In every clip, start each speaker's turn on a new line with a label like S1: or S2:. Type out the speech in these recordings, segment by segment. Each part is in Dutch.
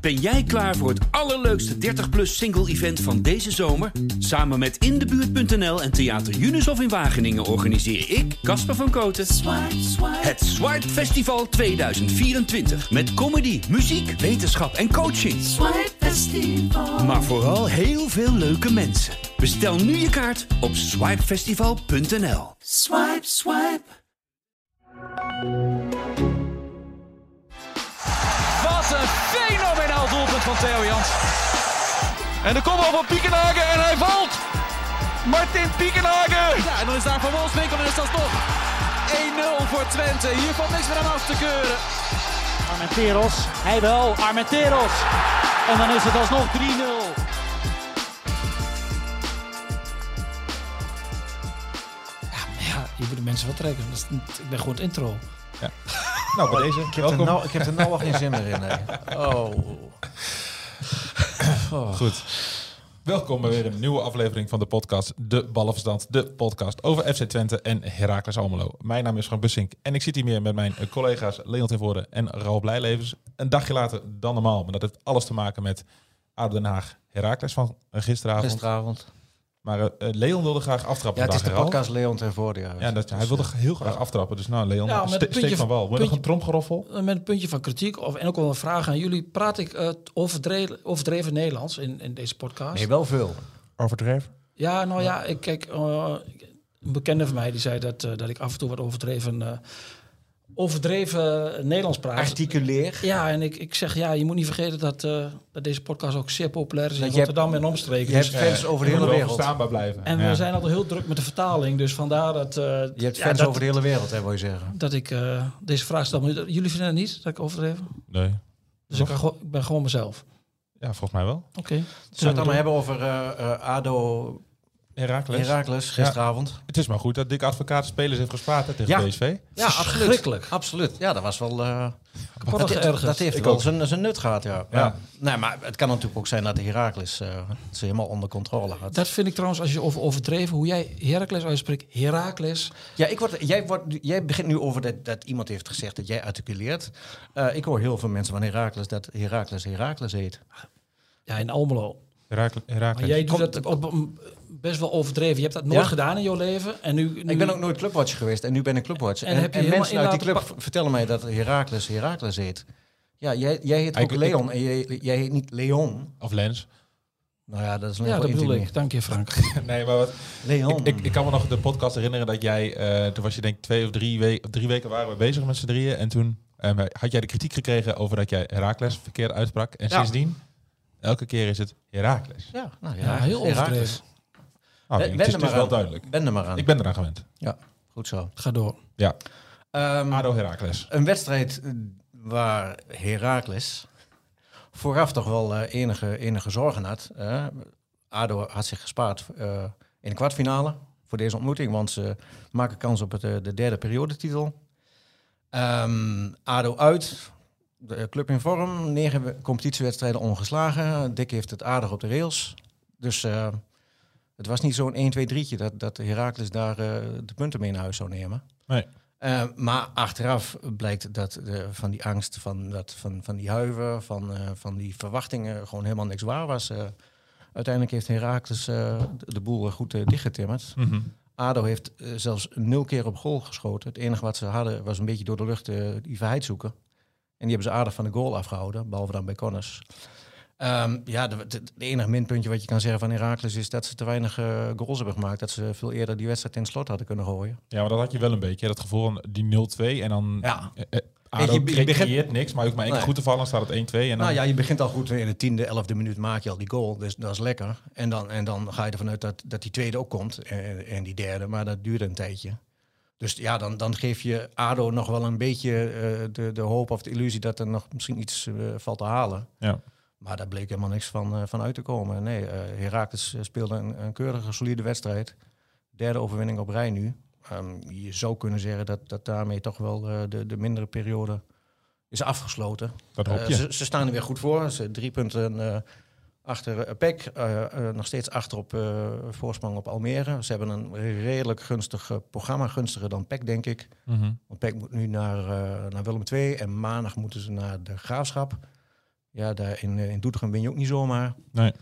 S1: Ben jij klaar voor het allerleukste 30-plus single-event van deze zomer? Samen met Indebuurt.nl en Theater Junushof in Wageningen organiseer ik, Casper van Koten, het Swipe Festival 2024. Met comedy, muziek, wetenschap en coaching. Maar vooral heel veel leuke mensen. Bestel nu je kaart op swipefestival.nl.
S2: Swipe, swipe.
S3: Wat een fenomenaal doelpunt van Theo Jans. En de kopbal van Piekenhagen en hij valt. Martin Piekenhagen. Ja, en dan is daar Van Wolfswinkel en is dat toch 1-0 voor Twente. Hier valt niks meer aan af te keuren.
S4: Armenteros, hij wel, Armenteros. En dan is het alsnog 3-0.
S5: Ja, je moet de mensen wat trekken. Dat is niet- ik ben gewoon het intro.
S6: Nou, bij deze.
S7: Ik heb, er nou, ik heb er nou al geen zin meer in. nee. Oh.
S6: Goed. Welkom bij weer een nieuwe aflevering van de podcast De Ballenverstand. De podcast over FC Twente en Heracles Almelo. Mijn naam is Frank Bussink en ik zit hier meer met mijn eh, collega's Leon Tevoren en Ralf Blijlevens. Een dagje later dan normaal, maar dat heeft alles te maken met ADO Den Haag Heracles van eh, gisteravond.
S7: Gisteravond.
S6: Maar eh, eh, Leon wilde graag aftrappen
S7: Ja, het is de
S6: vandaag, hè, Ralf?
S7: podcast Leon ten voordeur.
S6: Ja, dat, hij wilde heel graag aftrappen. Dus nou, Leon,
S5: Ja, met
S6: ste-
S5: een puntje
S6: steek van
S5: van-
S6: wal. Moet je nog
S5: puntje-
S6: een tromgeroffel?
S5: Met een puntje van kritiek of, en ook wel een vraag aan jullie. Praat ik eh, overdreven, overdreven Nederlands in, in deze podcast?
S7: Nee, wel veel.
S6: Overdreven?
S5: Ja, nou ja, ik kijk. eh, een bekende van mij die zei dat, eh, dat ik af en toe wat overdreven, eh, overdreven Nederlands praat.
S7: Articuleer.
S5: Ja, en ik, ik zeg ja, je moet niet vergeten dat, eh, dat deze podcast ook zeer populair is in
S7: Dat je
S5: Rotterdam
S7: hebt-
S5: en omstreken.
S7: Je hebt
S5: Dus-
S7: fans over de
S6: Je moet
S7: hele
S6: wel
S7: wereld.
S6: verstaanbaar blijven.
S5: en
S6: Ja.
S5: we zijn altijd heel druk met de vertaling, dus vandaar dat. eh,
S7: Je hebt
S5: ja,
S7: fans
S5: dat,
S7: over de hele wereld, hè, wil je zeggen.
S5: dat ik eh, deze vraag stel. Maar Jullie vinden het niet dat ik overdreven?
S6: Nee.
S5: Dus ik, kan gewoon- ik ben gewoon mezelf.
S6: Ja, volgens mij wel.
S5: Oké.
S7: Zullen we het allemaal hebben over eh, eh, ADO
S6: Heracles.
S7: Heracles gisteravond?
S6: Het is maar goed dat Dick Advocaat spelers heeft gespaard hè, tegen
S7: Ja.
S6: PSV.
S7: Ja,
S5: Verschrikkelijk.
S7: Absoluut. Ja, dat was wel... eh,
S5: Kapot
S7: dat, dat
S5: geërgerd.
S7: dat heeft
S6: Ik
S7: wel
S6: ook.
S7: zijn, zijn nut gehad, ja.
S6: Ja.
S7: ja. Nee, maar het kan natuurlijk ook zijn dat de Heracles eh, ze helemaal onder controle had.
S5: Dat vind ik trouwens, als je over overdreven, hoe jij Heracles uitspreekt, Heracles.
S7: Ja, ik word, jij, wordt, jij begint nu over dat, dat iemand heeft gezegd dat jij articuleert. Eh, ik hoor heel veel mensen van Herakles dat Herakles Herakles heet.
S5: Ja, in Almelo.
S6: Herakles.
S5: Maar
S6: Herakles.
S5: jij doet
S7: Komt-
S5: dat op een- best wel overdreven. Je hebt dat nooit
S7: Ja?
S5: gedaan in jouw leven. En nu, nu
S7: Ik ben ook nooit clubwatch geweest en nu ben ik clubwatch.
S5: En
S7: En,
S5: heb je
S7: en
S5: helemaal
S7: mensen uit die
S5: inlaten
S7: club v- vertellen mij dat Herakles Herakles heet. Ja, jij, jij heet ook
S6: Ik- ik-
S7: Leon en jij, jij heet niet Leon.
S6: Of Lens.
S7: Nou ja, dat is nog
S5: Ja,
S7: wel
S5: dat bedoel
S7: intiem.
S5: ik. Dank je, Frank.
S6: Nee, maar wat,
S7: Leon.
S6: ik, ik, ik kan me nog de podcast herinneren dat jij... eh, toen was je denk ik twee of drie, we drie weken waren we bezig met z'n drieën. En toen eh, had jij de kritiek gekregen over dat jij Herakles verkeerd uitsprak. En
S7: Ja.
S6: sindsdien, elke keer is het Herakles.
S7: ja, nou,
S5: Ja, heel
S7: Herakles.
S5: overdreven.
S6: Nou,
S7: Ben-
S6: het
S7: ben
S6: is,
S7: er
S6: het is
S7: maar
S6: wel
S7: aan.
S6: duidelijk.
S7: Ben er maar aan.
S6: Ik ben eraan gewend.
S7: Ja, goed zo.
S5: Ga door.
S6: Ja,
S7: Ehm,
S6: ADO Herakles.
S7: Een wedstrijd eh, waar Heracles vooraf toch wel eh, enige, enige zorgen had. eh. ADO had zich gespaard eh, in de kwartfinale voor deze ontmoeting, want ze maken kans op het, eh, de derde periodetitel. Ehm ADO uit, de eh, club in vorm, negen we- competitiewedstrijden ongeslagen. Dick heeft het aardig op de rails. Dus eh, het was niet zo'n 1-2-3'tje dat, dat Heracles daar eh, de punten mee naar huis zou nemen.
S6: Nee.
S7: Eh, maar achteraf blijkt dat eh, van die angst, van, dat, van, van die huiver, van, eh, van die verwachtingen gewoon helemaal niks waar was. eh. uiteindelijk heeft Herakles de boel eh, goed eh, dichtgetimmerd.
S6: Mhm.
S7: ADO heeft eh, zelfs nul keer op goal geschoten. Het enige wat ze hadden was een beetje door de lucht eh, die verheid zoeken. En die hebben ze aardig van de goal afgehouden, behalve dan bij Connors. Ehm, ja, de, de, de enige minpuntje wat je kan zeggen van Herakles is dat ze te weinig eh, goals hebben gemaakt. Dat ze veel eerder die wedstrijd in het slot hadden kunnen gooien.
S6: Ja, maar dat had je wel een beetje. hè, Dat gevoel van die 0-2 en dan...
S7: Ja.
S6: eh, eh,
S7: Weet
S6: ADO
S7: je, je begint-
S6: creëert niks, maar ook maar één keer
S7: Nee.
S6: goed te vallen. Dan staat het 1-2 en dan...
S7: Nou ja, je begint al goed in de tiende, elfde minuut maak je al die goal. Dus dat is lekker. En dan, en dan ga je ervan uit dat, dat die tweede ook komt. En, en die derde, maar dat duurde een tijdje. Dus ja, dan, dan geef je ADO nog wel een beetje eh, de, de hoop of de illusie dat er nog misschien iets eh, valt te halen.
S6: Ja.
S7: Maar daar bleek helemaal niks van, eh, van uit te komen. Nee, eh Herakles speelde een, een keurige, solide wedstrijd. Derde overwinning op rij nu. Ehm, je zou kunnen zeggen dat, dat daarmee toch wel eh, de, de mindere periode is afgesloten.
S6: Dat hoop
S7: Eh,
S6: je.
S7: ze, ze staan er weer goed voor. Ze drie punten eh, achter eh, PEC. eh, eh, nog steeds achter op eh, voorsprong op Almere. Ze hebben een redelijk gunstig eh, programma. Gunstiger dan PEC, denk ik.
S6: Mhm.
S7: Want PEC moet nu naar, eh, naar Willem II. En maandag moeten ze naar de Graafschap. Ja, daar in, eh, in Doetinchem win je ook niet zomaar.
S6: Nee.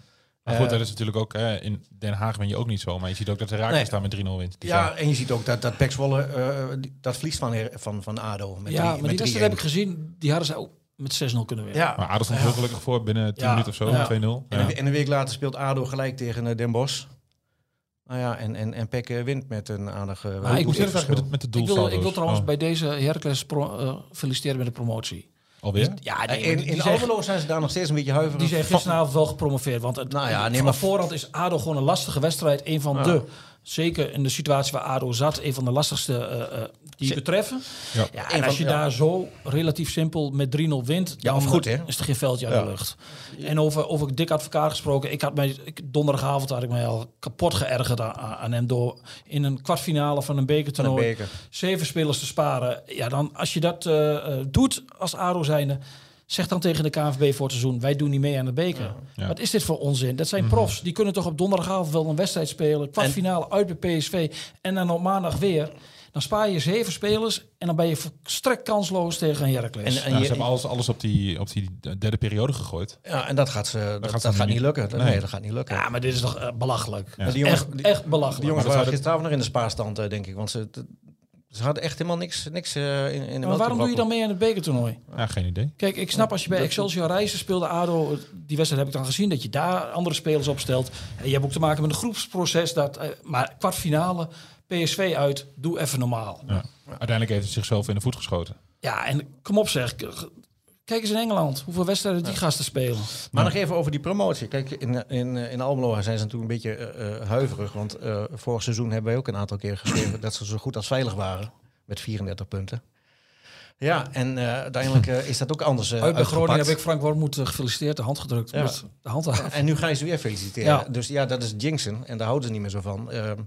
S6: Maar goed,
S7: Eh,
S6: dat is natuurlijk ook... eh, in Den Haag ben je ook niet zo. Maar je ziet ook dat Herakles
S7: Nee.
S6: daar met 3-0 wint. Dus
S7: Ja, en je ziet ook dat, dat Pek Zwolle, eh, die- dat verliest van, Her- van, van ADO. Met
S5: ja, maar
S7: drie- met
S5: die
S7: 3-1.
S5: wedstrijd heb ik gezien. Die hadden ze ook met 6-0 kunnen winnen.
S7: Ja,
S6: Maar Adel stond heel gelukkig voor binnen 10
S7: Ja.
S6: minuten of zo,
S7: Ja.
S6: 2-0.
S7: En,
S6: Ja.
S7: een, en een week later speelt ADO gelijk tegen eh, Den Bosch. Nou ja, en, en, en Pek eh, wint met een eh, aardige...
S5: Maar Ah, ik-
S6: Hoe zit het eigenlijk met, het- met de
S5: Ik wil,
S6: doelsaldo's?
S5: ik wil trouwens
S6: Oh,
S5: bij deze Heracles pro- eh, feliciteren met de promotie.
S6: Oh. Alweer?
S5: Ja,
S7: in
S5: maar
S7: in,
S5: die- die zijn-
S7: Almelo zijn ze daar nog steeds een beetje huiverig.
S5: Die zijn
S7: van.
S5: gisteravond wel gepromoveerd. Want het,
S7: Nou ja, nee,
S5: van
S7: maar-
S5: voorhand is ADO gewoon een lastige wedstrijd. Een van de, zeker in de situatie waar ADO zat, een van de lastigste eh, eh, die je betreffen.
S6: Ja.
S5: Ja,
S7: Een
S5: en als je
S7: van- ja.
S5: daar zo relatief simpel met 3-0 wint,
S7: Ja,
S5: dan eh,
S7: of goed, hè?
S5: is er geen veldje aan de lucht. En over, over Dick Advocaat gesproken, ik had mij, ik, donderdagavond had ik mij al kapot geërgerd aan, aan hem door in een kwartfinale van een bekertoernooi
S7: Van een beker.
S5: zeven spelers te sparen. Ja, dan als je dat eh, eh, doet als ADO zijnde, zeg dan tegen de KNVB voor het seizoen, wij doen niet mee aan de beker.
S6: Ja.
S5: Wat is dit voor onzin? Dat
S7: Mhm.
S5: zijn profs, die kunnen toch op donderdagavond wel een wedstrijd spelen, kwartfinale uit bij PSV en dan op maandag weer. Dan spaar je zeven spelers en dan ben je volstrekt kansloos tegen een Heracles.
S7: En, en
S6: Ja,
S7: je-
S6: Nou, ze hebben alles, alles op, die, op die derde periode gegooid.
S7: ja, en dat gaat, ze, dat,
S6: gaat
S7: dat
S6: ze
S7: gaat
S6: niet-
S7: niet lukken. Dat-
S6: Nee.
S7: Nee. dat gaat niet lukken.
S5: ja, maar dit is toch eh, belachelijk.
S7: Maar die jongens,
S5: Echt,
S7: die,
S5: echt
S7: die
S5: belachelijk.
S7: jongens
S6: Maar dat
S7: waren
S6: zouden-
S7: gisteravond nog in de spaarstand, eh, denk ik. Want ze, ze hadden echt helemaal niks, niks eh, in, in de
S5: maar waarom doe je dan mee aan het bekertoernooi?
S6: Ja, geen idee.
S5: Kijk, ik snap als je bij Excelsior Reizen speelde, ADO, die wedstrijd heb ik dan gezien, dat je daar andere spelers opstelt. En je hebt ook te maken met een groepsproces. Dat, eh, maar kwartfinale, PSV uit, doe even normaal.
S6: Ja. Uiteindelijk heeft het zichzelf in de voet geschoten.
S5: Ja, en kom op zeg. k- Kijk eens in Engeland, hoeveel wedstrijden die gasten spelen.
S7: Maar nog even over die promotie. Kijk, in, in, eh, in Almelo zijn ze natuurlijk een beetje eh, eh, huiverig. Want eh, vorig seizoen hebben wij ook een aantal keer geschreven dat ze zo goed als veilig waren. Met 34 punten. Ja, en eh, uiteindelijk eh, is dat ook anders. eh,
S5: uit bij Groningen
S7: uitgepakt.
S5: heb ik Frank Wormoed eh, gefeliciteerd, de hand gedrukt.
S7: Ja.
S5: Met de hand aan.
S7: En nu gaan je ze weer feliciteren.
S5: Ja.
S7: Dus ja, dat is jinxen. En daar houden ze niet meer zo van. Ehm,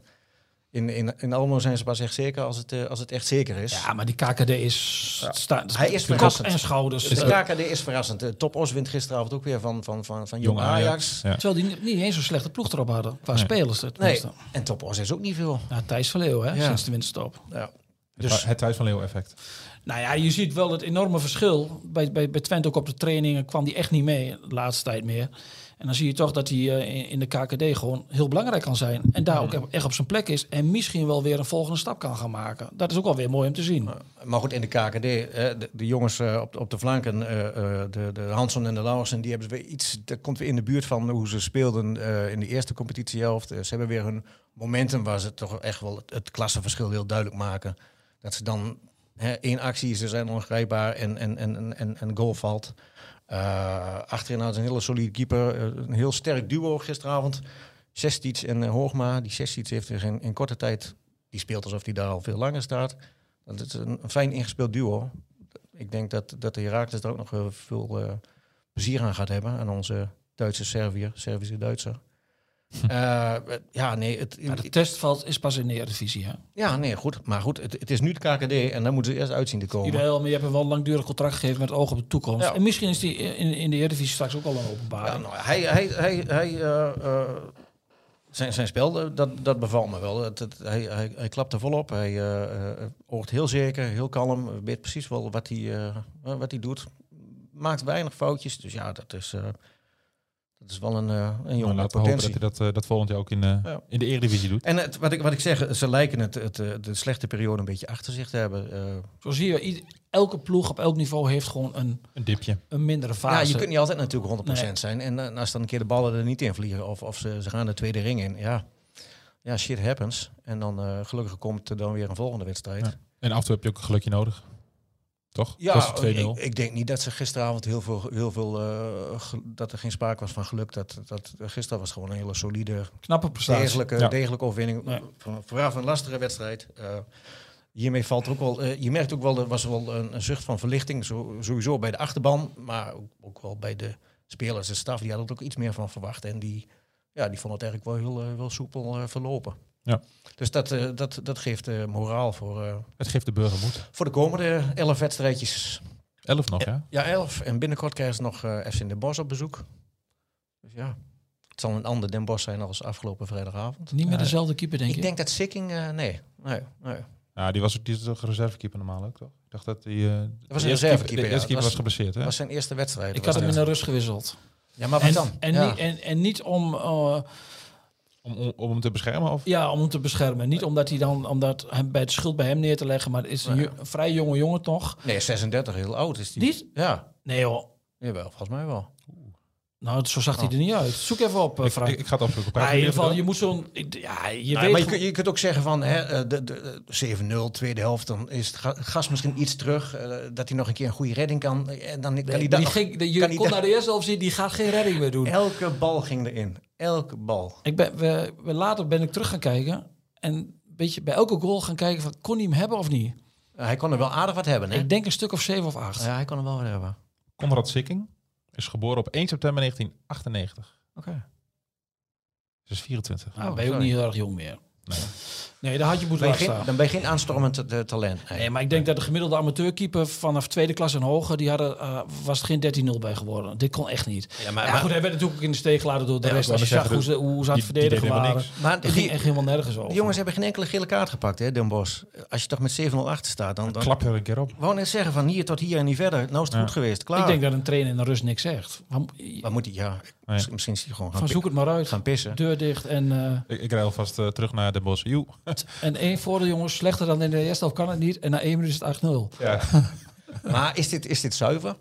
S7: in, in, in Almelo zijn ze pas echt zeker als het, eh, als het echt zeker is.
S5: Ja, maar die KKD is... Sta,
S7: Hij is
S5: kop
S7: verrassend.
S5: en schouders.
S7: Dus de
S5: Eh,
S7: KKD is verrassend. De Top Os wint gisteravond ook weer van, van, van, van Jong Ajax.
S6: Ja.
S5: terwijl die niet, niet eens zo'n slechte ploeg erop hadden. Qua spelers.
S7: Nee,
S5: tenminste.
S7: en Top Os is ook niet veel.
S5: Ja, Thijs van Leeuwen, hè,
S7: Ja.
S5: sinds de winterstop.
S7: Ja. dus-
S6: Het, het Thuis van Leeuw effect.
S5: Nou ja, je ziet wel het enorme verschil. Bij, bij, bij Twente ook op de trainingen kwam die echt niet mee de laatste tijd meer. En dan zie je toch dat hij eh, in, in de KKD gewoon heel belangrijk kan zijn. En daar ook echt op zijn plek is. En misschien wel weer een volgende stap kan gaan maken. Dat is ook wel weer mooi om te zien.
S7: Maar goed, in de KKD, hè, de, de jongens eh, op, op de flanken, eh, eh, de, de Hanson en de Lauwersen, die hebben weer iets, dat komt weer in de buurt van hoe ze speelden eh, in de eerste competitiehelft. Eh, ze hebben weer hun momentum waar ze toch echt wel het, het klassenverschil heel duidelijk maken. Dat ze dan hè, één actie, ze zijn ongrijpbaar en, en, en, en, en, en goal valt. Eh, achterin hadden ze een hele solide keeper, eh, een heel sterk duo gisteravond. Sestic en eh, Hoogma, die Sestic heeft zich in, in korte tijd, die speelt alsof hij daar al veel langer staat. Dat is een een fijn ingespeeld duo. Ik denk dat, dat de Herakles er ook nog eh, veel eh, plezier aan gaat hebben. Aan onze Duitse Serviër, Servische Duitser. Eh, ja, nee, het,
S5: Maar de testveld is pas in de Eredivisie. Hè?
S7: ja, nee, goed. Maar goed, het, het is nu de KKD en daar moeten ze eerst uitzien te komen.
S5: Ideaal, maar je hebt hem wel een langdurig contract gegeven met oog op de toekomst.
S7: Ja.
S5: En misschien is die in, in de Eredivisie straks ook al een
S7: Ja,
S5: openbaring.
S7: nou, hij, hij, hij, hij, eh, eh, zijn, zijn spel, eh, dat, dat bevalt me wel. Het, het- hij, hij, hij klapt er volop. Hij eh, eh, oogt heel zeker, heel kalm. Weet precies wel wat hij, eh, eh, wat hij doet. Maakt weinig foutjes. Dus ja, dat is, eh, dat is wel een, eh een
S6: Maar
S7: jongen met
S6: Nou, laten we hopen dat
S7: potentie.
S6: hij dat, eh, dat volgend jaar ook in, eh,
S7: Ja.
S6: in de Eredivisie doet.
S7: En het, wat, ik, wat ik zeg, ze lijken het, het, eh, de slechte periode een beetje achter zich te hebben. Eh,
S5: Zo zie je, ied- elke ploeg op elk niveau heeft gewoon een,
S6: Een dipje.
S5: een mindere fase.
S7: ja, je kunt niet altijd natuurlijk 100%
S5: Nee.
S7: zijn. En eh, als dan een keer de ballen er niet in vliegen of, of ze, ze gaan de tweede ring in, ja. Ja, shit happens. En dan eh, gelukkig komt er dan weer een volgende wedstrijd.
S6: Ja. En af en toe heb je ook een gelukje nodig. Toch?
S7: Ja,
S6: Dat is 2-0.
S7: ik, ik denk niet dat ze gisteravond heel veel, heel veel eh, ge- dat er geen sprake was van geluk. Dat, dat, gisteren was gewoon een hele solide,
S5: Knappe prestatie.
S7: degelijke,
S6: Ja.
S7: degelijke overwinning.
S5: Nee.
S7: Voor- Vooraf een lastige wedstrijd. Eh, hiermee valt er ook wel, eh, je merkt ook wel, er was wel een, een zucht van verlichting. Zo, sowieso bij de achterban, maar ook, ook wel bij de spelers en staf. Die hadden er ook iets meer van verwacht. En die, ja, die vonden het eigenlijk wel heel, eh, wel soepel eh, verlopen.
S6: Ja.
S7: Dus dat, eh, dat, dat geeft eh, moraal voor, eh,
S6: Het geeft de burger moed.
S7: voor de komende elf wedstrijdjes.
S6: 11 nog, ja?
S7: Ja, elf. En binnenkort krijgen ze nog eh FC Den Bosch op bezoek. Dus ja, het zal een ander Den Bosch zijn als afgelopen vrijdagavond.
S5: Niet meer
S7: Ja,
S5: dezelfde keeper, denk
S7: ik
S5: ik.
S7: denk dat Sikking, eh, nee. Nee, nee.
S6: Ja, die was, die is toch reservekeeper normaal ook, toch? Ik dacht dat die... eh, de
S7: was
S6: eerste
S7: een reservekeeper,
S6: keeper- De
S7: ja.
S6: eerste
S7: Dat
S6: keeper
S7: was-
S6: was geblesseerd, hè?
S7: was zijn eerste wedstrijd.
S5: Ik
S7: was
S5: had hem in
S7: het.
S5: de rust gewisseld.
S7: Ja, maar wat
S5: En,
S7: dan?
S5: en,
S7: ja.
S5: niet, en, en niet om, eh,
S6: Om, om, om hem te beschermen? Of?
S5: ja, om hem te beschermen. Niet omdat hij dan omdat hem bij het schuld bij hem neer te leggen. Maar het is een, ju- een vrij jonge jongen toch?
S7: Nee, 36, heel oud is die.
S5: Niet?
S7: Ja,
S5: Nee joh.
S7: jawel, volgens mij wel.
S5: Nou, zo zag hij
S7: Oh.
S5: er niet uit. Zoek even op, eh, Frank.
S6: Ik, ik ga het opzoeken.
S5: Maar
S6: Praat
S5: in
S6: jullie
S5: ieder
S6: even
S5: geval,
S6: door?
S5: je moet zo'n... Ja, je
S7: Nou,
S5: weet...
S7: maar je,
S5: gewoon-
S7: kunt- je kunt ook zeggen van hè, eh, de, de, de 7-0, tweede helft, dan is het ga- gas misschien iets terug. eh, dat hij nog een keer een goede redding kan. eh, En dan kan hij
S5: die
S7: dat nog-
S5: ging, die-
S7: kan
S5: je
S7: die
S5: kon
S7: dat-
S5: naar de eerste helft zien, die gaat geen redding meer doen.
S7: Elke bal ging erin. Elke bal.
S5: Ik ben, we, we- later ben ik terug gaan kijken en een beetje bij elke goal gaan kijken van kon hij hem hebben of niet.
S7: Eh, Hij kon er wel aardig wat hebben, hè?
S5: Ik denk een stuk of zeven of acht.
S7: Ja, hij kon er wel wat hebben.
S6: Konrad Sikking is geboren op 1 september 1998.
S7: Oké.
S6: Dus 24.
S5: Nou,
S7: Oh,
S5: ben je ook
S7: sorry.
S5: niet heel erg jong meer.
S6: Nee.
S5: Nee, daar had je moeten
S7: Dan
S5: laten
S7: ben je geen-
S5: staan.
S7: Dan ben je geen aanstormend eh, talent. Nee.
S5: Nee, maar ik denk dat de gemiddelde amateurkeeper vanaf tweede klas en hoger, die hadden, eh, was het geen 13-0 bij geworden. Dit kon echt niet. Ja, maar, goed, hij werd natuurlijk ook in de steek geladen door de
S6: Ja,
S5: rest.
S6: ik
S5: Als
S6: wou
S5: je
S6: net
S5: zag hoe
S6: zeggen,
S5: ze, hoe ze aan het
S6: die- die
S5: verdedigen
S6: deden helemaal
S5: waren,
S6: niks.
S7: Maar
S5: dat
S7: die-
S5: ging echt helemaal nergens over.
S7: De jongens hebben geen enkele gele kaart gepakt, hè, Den Bos. Als je toch met 7-0 achter staat, dan... dan
S6: Klap je er een keer op.
S7: wou net zeggen van hier tot hier en niet verder. Nou is het
S6: Ja.
S7: goed geweest. Klaar.
S5: ik denk dat een trainer in de rust niks zegt. Waar mo-
S7: Maar moet hij, ja. misschien- Misschien is hij gewoon gaan,
S5: Van
S7: pi-
S5: zoek het maar uit.
S7: gaan pissen.
S5: Deur dicht en... eh,
S6: Ik, ik rij alvast eh, terug naar Den Bosch. Joe.
S7: Nou,
S5: En één voordeel, jongens, slechter dan in de eerste helft kan het niet. En na één minuut is het 8-0.
S6: Ja.
S7: Maar is dit, is dit zuiver?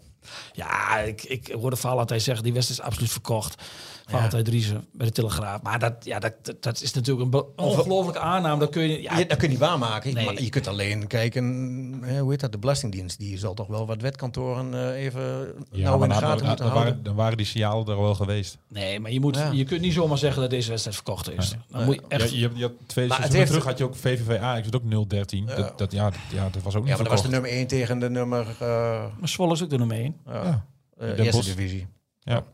S5: Ja, ik, ik hoorde Valentijn zeggen, die wedstrijd is absoluut verkocht. Valentijn Driessen bij de Telegraaf. Maar dat, ja, dat, dat, dat is natuurlijk een be- ongelofelijke aanname. Dat kun je, ja,
S7: Je- dat kun je niet waarmaken.
S5: Nee.
S7: Maar je kunt alleen kijken, hè, hoe heet dat, de Belastingdienst. Die zal toch wel wat wetkantoren eh, even nauw
S6: maar
S7: in
S6: dan-
S7: de gaten
S6: dan-
S7: moeten
S6: dan,
S7: houden.
S6: waren, dan waren die signalen er wel geweest.
S5: nee, maar je, moet,
S7: Ja.
S5: je kunt niet zomaar zeggen dat deze wedstrijd verkocht is. Dan moet je echt...
S6: Ja, je, hebt- je had twee
S7: Maar het
S6: seizoenen
S7: heeft-
S6: terug had je ook VVV Ajax, dat ook 0-13. Dat, dat, ja, dat, ja, dat was ook niet
S7: Ja, maar dat was
S6: verkocht.
S7: de nummer 1 tegen de nummer eh
S5: Maar Zwolle is ook er nog mee in.
S6: Ja.
S7: eh,
S6: Den
S7: eerste
S6: Bosch.
S7: divisie.
S6: Ja.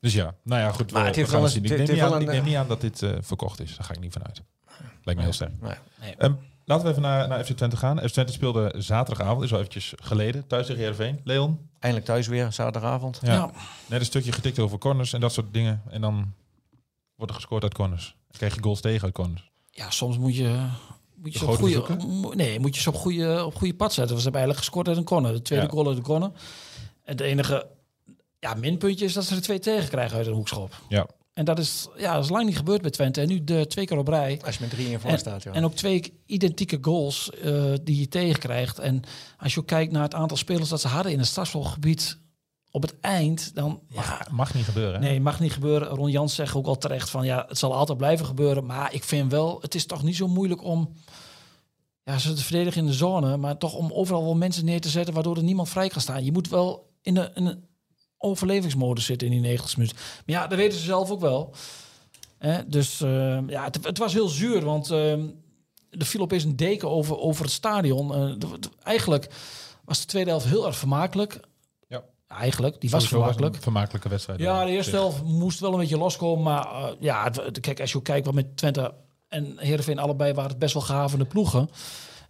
S6: Dus ja, nou ja, goed.
S7: Maar
S6: we-
S7: het
S6: we
S7: heeft
S6: gaan
S7: wel
S6: zien. Ik
S7: een- het
S6: neem
S7: heeft
S6: niet aan-
S7: wel
S6: ik
S7: een-
S6: neem niet aan dat dit eh, verkocht is. Daar ga ik niet vanuit. Lijkt me heel sterk.
S7: Nee.
S5: Nee.
S6: Ehm, laten we even naar, naar FC Twente gaan. FC Twente speelde zaterdagavond, is al eventjes geleden, thuis tegen Heerenveen. Leon,
S7: Eindelijk thuis weer, zaterdagavond.
S6: Ja. net een stukje getikt over corners en dat soort dingen. En dan wordt er gescoord uit corners. Dan krijg je goals tegen uit corners.
S5: Ja, soms moet je, moet je, ze op,
S6: goden
S5: goede, mo- nee, moet je ze op goede, op goede pad zetten. Ze hebben eigenlijk gescoord uit een corner. De tweede
S6: Ja.
S5: goal uit de corner. Het enige ja, minpuntje is dat ze er twee tegen krijgen uit een hoekschop.
S6: Ja.
S5: En dat is, ja, dat is lang niet gebeurd bij Twente. En nu de, twee keer op rij.
S7: Als je met 3 in voor
S5: En,
S7: staat, ja.
S5: en ook twee identieke goals eh, die je tegenkrijgt. En als je ook kijkt naar het aantal spelers dat ze hadden in het strafschopgebied op het eind, dan ja,
S6: Mag niet gebeuren. Hè?
S5: Nee, mag niet gebeuren. Ron Jans zegt ook al terecht van ja, het zal altijd blijven gebeuren. Maar ik vind wel, het is toch niet zo moeilijk om. Ja, ze te verdedigen in de zone, maar toch om overal wel mensen neer te zetten waardoor er niemand vrij kan staan. Je moet wel in een, in een overlevingsmodus zitten in die 90 minuten. Maar ja, dat weten ze zelf ook wel. Hè, dus eh, ja, het, het was heel zuur, want eh, er viel opeens een deken over, over het stadion. Eh, de- de- eigenlijk was de tweede helft heel erg vermakelijk.
S6: Ja.
S5: Eigenlijk, die was
S6: Sowieso het
S5: vermakelijk.
S6: een vermakelijke wedstrijd.
S5: Ja,
S6: eh,
S5: de eerste
S6: zeg.
S5: helft moest wel een beetje loskomen. Maar eh, ja, het- het- kijk, als je ook kijkt wat met Twente en Heerenveen allebei waren het best wel gehavende ploegen.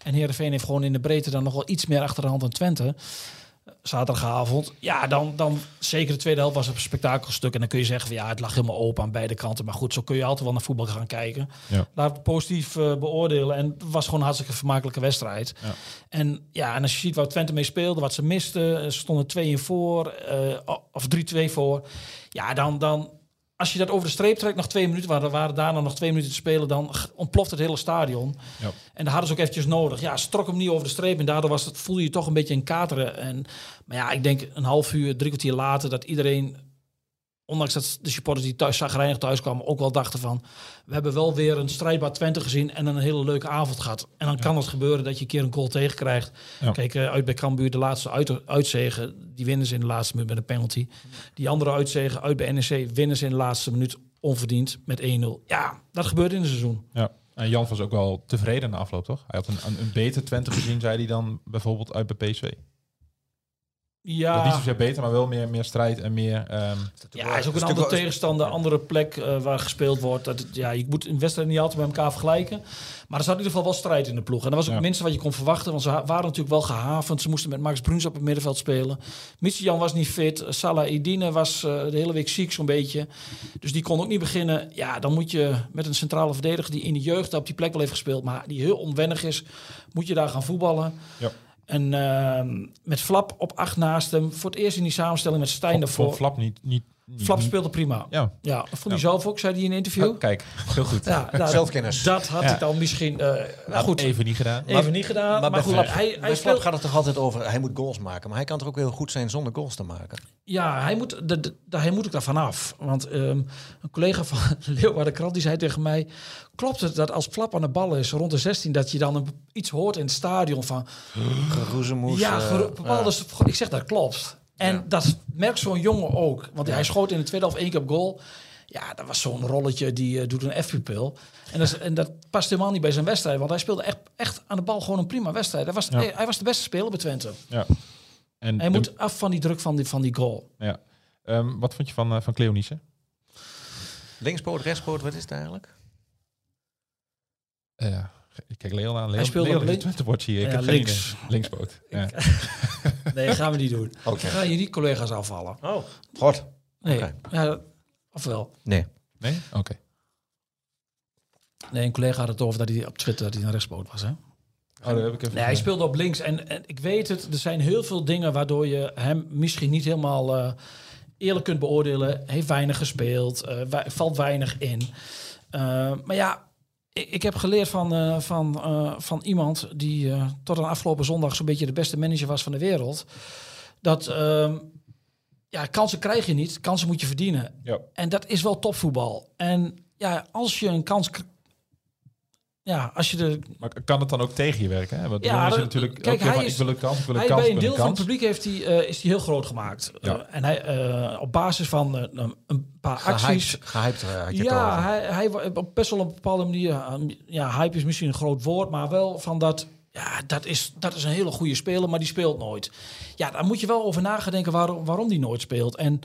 S5: En Heerenveen heeft gewoon in de breedte dan nog wel iets meer achter de hand dan Twente. Eh, Zaterdagavond. Ja, dan, dan zeker de tweede helft was het een spektakelstuk. En dan kun je zeggen van ja, het lag helemaal open aan beide kanten. Maar goed, zo kun je altijd wel naar voetbal gaan kijken.
S6: Ja.
S5: Laat het positief eh, beoordelen. En het was gewoon een hartstikke vermakelijke wedstrijd.
S6: Ja.
S5: En ja, en als je ziet waar Twente mee speelde, wat ze misten, eh, ze stonden 2 in voor, eh, of 3-2 voor. Ja, dan, dan, als je dat over de streep trekt, nog twee minuten, waren, waren daarna nog twee minuten te spelen, dan g- ontploft het hele stadion.
S6: Ja.
S5: En daar hadden ze ook eventjes nodig. Ja, strok hem niet over de streep en daardoor was het, voelde je toch een beetje een kateren. En, maar ja, ik denk een half uur, drie kwartier later, dat iedereen, ondanks dat de supporters die thuis zagrijnig thuis kwamen, ook wel dachten van, we hebben wel weer een strijdbaar Twente gezien en een hele leuke avond gehad. En dan kan het gebeuren dat je een keer een goal tegenkrijgt.
S6: Ja.
S5: Kijk, eh, uit bij Cambuur, de laatste uit, uitzegen, die winnen ze in de laatste minuut met een penalty. Die andere uitzegen, uit bij NEC, winnen ze in de laatste minuut onverdiend met 1-0. Ja, dat gebeurt in het seizoen.
S6: Ja. En Jan was ook wel tevreden na afloop, toch? Hij had een, een, een beter Twente gezien, zei hij dan bijvoorbeeld uit bij PSV. Dat Niet
S5: Ja,
S6: zozeer beter, maar wel meer, meer strijd en meer... ehm,
S5: ja, is ook
S7: is
S5: een
S7: natuurlijk
S5: andere
S7: wel-
S5: tegenstander, andere plek eh, waar gespeeld wordt. Dat, het- ja, je moet een wedstrijd niet altijd met elkaar vergelijken. Maar er zat in ieder geval wel strijd in de ploeg. En dat was ook
S6: Ja.
S5: het minste wat je kon verwachten. Want ze ha- waren natuurlijk wel gehavend. Ze moesten met Max Bruns op het middenveld spelen. Jan was niet fit. Salah Edine was eh, de hele week ziek zo'n beetje. Dus die kon ook niet beginnen. Ja, dan moet je met een centrale verdediger die in de jeugd op die plek wel heeft gespeeld. Maar die heel onwennig is, moet je daar gaan voetballen.
S6: Ja.
S5: En ehm, met Flap op acht naast hem. Voor het eerst in die samenstelling met Stijn
S6: vond- vond
S5: daarvoor.
S6: Flap niet... niet, niet-
S5: Flap speelde prima.
S6: Ja,
S5: Ja, dat vond hij zelf ook, zei hij in een interview.
S6: Oh, kijk, heel goed.
S5: Ja, nou,
S7: Zelfkennis.
S5: Dat had
S6: Ja.
S5: ik dan misschien eh, nou goed, even,
S6: Even niet gedaan.
S5: niet gedaan. Maar,
S7: bij
S5: goed,
S7: Flap-
S5: hij,
S7: bij
S5: hij
S7: Flap
S5: speelt...
S7: gaat het toch altijd over, hij moet goals maken. Maar hij kan toch ook heel goed zijn zonder goals te maken.
S5: Ja, hij moet, de, de- de- hij moet ook daarvan af. Want ehm, een collega van Leeuwarden Krant die zei tegen mij... Klopt het dat als Flap aan de bal is rond de 16... dat je dan een, iets hoort in het stadion van...
S7: Geroezemoes.
S5: ja,
S7: eh,
S5: gero- bepaalde... soort- Ik zeg dat klopt. En dat merkt zo'n jongen ook. Want hij schoot in de tweede helft één keer op goal... Ja, dat was zo'n rolletje, die eh, doet een F-pupil. En, dat is- en dat past helemaal niet bij zijn wedstrijd. Want hij speelde echt, echt aan de bal gewoon een prima wedstrijd. Hij was,
S6: Ja.
S5: hij, hij was de beste speler bij Twente.
S6: Ja. En
S5: Hij
S6: de-
S5: moet af van die druk van die, van die goal.
S6: ja. Ehm, wat vond je van, eh, van Cleonice?
S7: Linkspoot, rechtspoot, wat is het eigenlijk?
S6: Eh, Ja, ik kijk Leon aan. Leon,
S5: Hij speelde
S6: Leon
S5: op
S6: is
S5: link-
S6: Twente-watch hier. Ik
S5: Ja,
S6: heb geen
S5: links.
S6: idee. Linksboot. Ja.
S5: Nee, gaan we niet doen.
S7: Oké.
S5: Ga je die collega's afvallen?
S7: Oh. God.
S5: Nee.
S7: Oké.
S5: Ja, ofwel.
S7: Nee.
S6: Nee? Oké.
S5: Nee, een collega had het over dat hij op Twitter dat hij naar rechtsboot was. Hè?
S6: Oh, daar heb ik even...
S5: Nee, hij speelde op links. En, en ik weet het, er zijn heel veel dingen waardoor je hem misschien niet helemaal eh, eerlijk kunt beoordelen. Heeft weinig gespeeld, eh, wa- valt weinig in. Eh, maar ja, ik, ik heb geleerd van, eh, van, eh, van iemand die eh, tot aan afgelopen zondag zo'n beetje de beste manager was van de wereld. Dat ehm, ja, kansen krijg je niet, kansen moet je verdienen.
S6: Ja.
S5: En dat is wel topvoetbal. En ja, als je een kans. k- Ja, als je de
S6: Maar kan het dan ook tegen je werken? Hè? Want
S5: Ja,
S6: ja, is
S5: dat-
S6: natuurlijk...
S5: kijk,
S6: elke keer
S5: hij
S6: van,
S5: is-
S6: ik wil een kans, ik wil een
S5: hij,
S6: kans,
S5: bij
S6: ik
S5: een
S6: wil
S5: deel
S6: een
S5: van het
S6: kans. Oh,
S5: publiek heeft hij, eh, is hij heel groot gemaakt.
S6: Ja.
S5: Eh, en hij, eh, op basis van eh, een- een paar acties.
S7: Gehyped, gehyped eh, had je het
S5: Ja,
S7: over.
S5: hij, hij wa- op best wel een bepaalde manier. eh, Ja, hype is misschien een groot woord, maar wel van dat. Ja, dat is, dat is een hele goede speler, maar die speelt nooit. Ja, daar moet je wel over nagedenken waarom, waarom die nooit speelt. En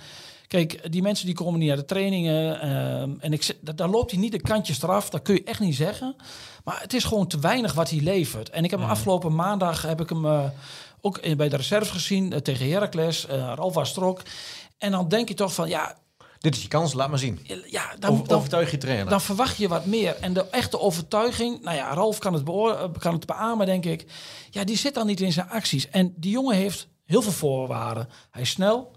S5: kijk, die mensen die komen niet naar de trainingen. ehm, en ik, zeg- da- daar loopt hij niet de kantjes eraf. Dat kun je echt niet zeggen. Maar het is gewoon te weinig wat hij levert. En ik heb hem afgelopen maandag heb ik hem eh, ook in- bij de reserve gezien eh, tegen Heracles, eh Ralf was er ook. En dan denk je toch van ja,
S7: Dit is je kans, laat maar zien.
S5: ja dan,
S7: Dan,
S5: dan,
S7: Overtuig je trainer.
S5: dan verwacht je wat meer. En de echte overtuiging, nou ja, Ralf kan het, beoor- eh, kan het beamen, denk ik. Ja, die zit dan niet in zijn acties. En die jongen heeft heel veel voorwaarden. Hij is snel,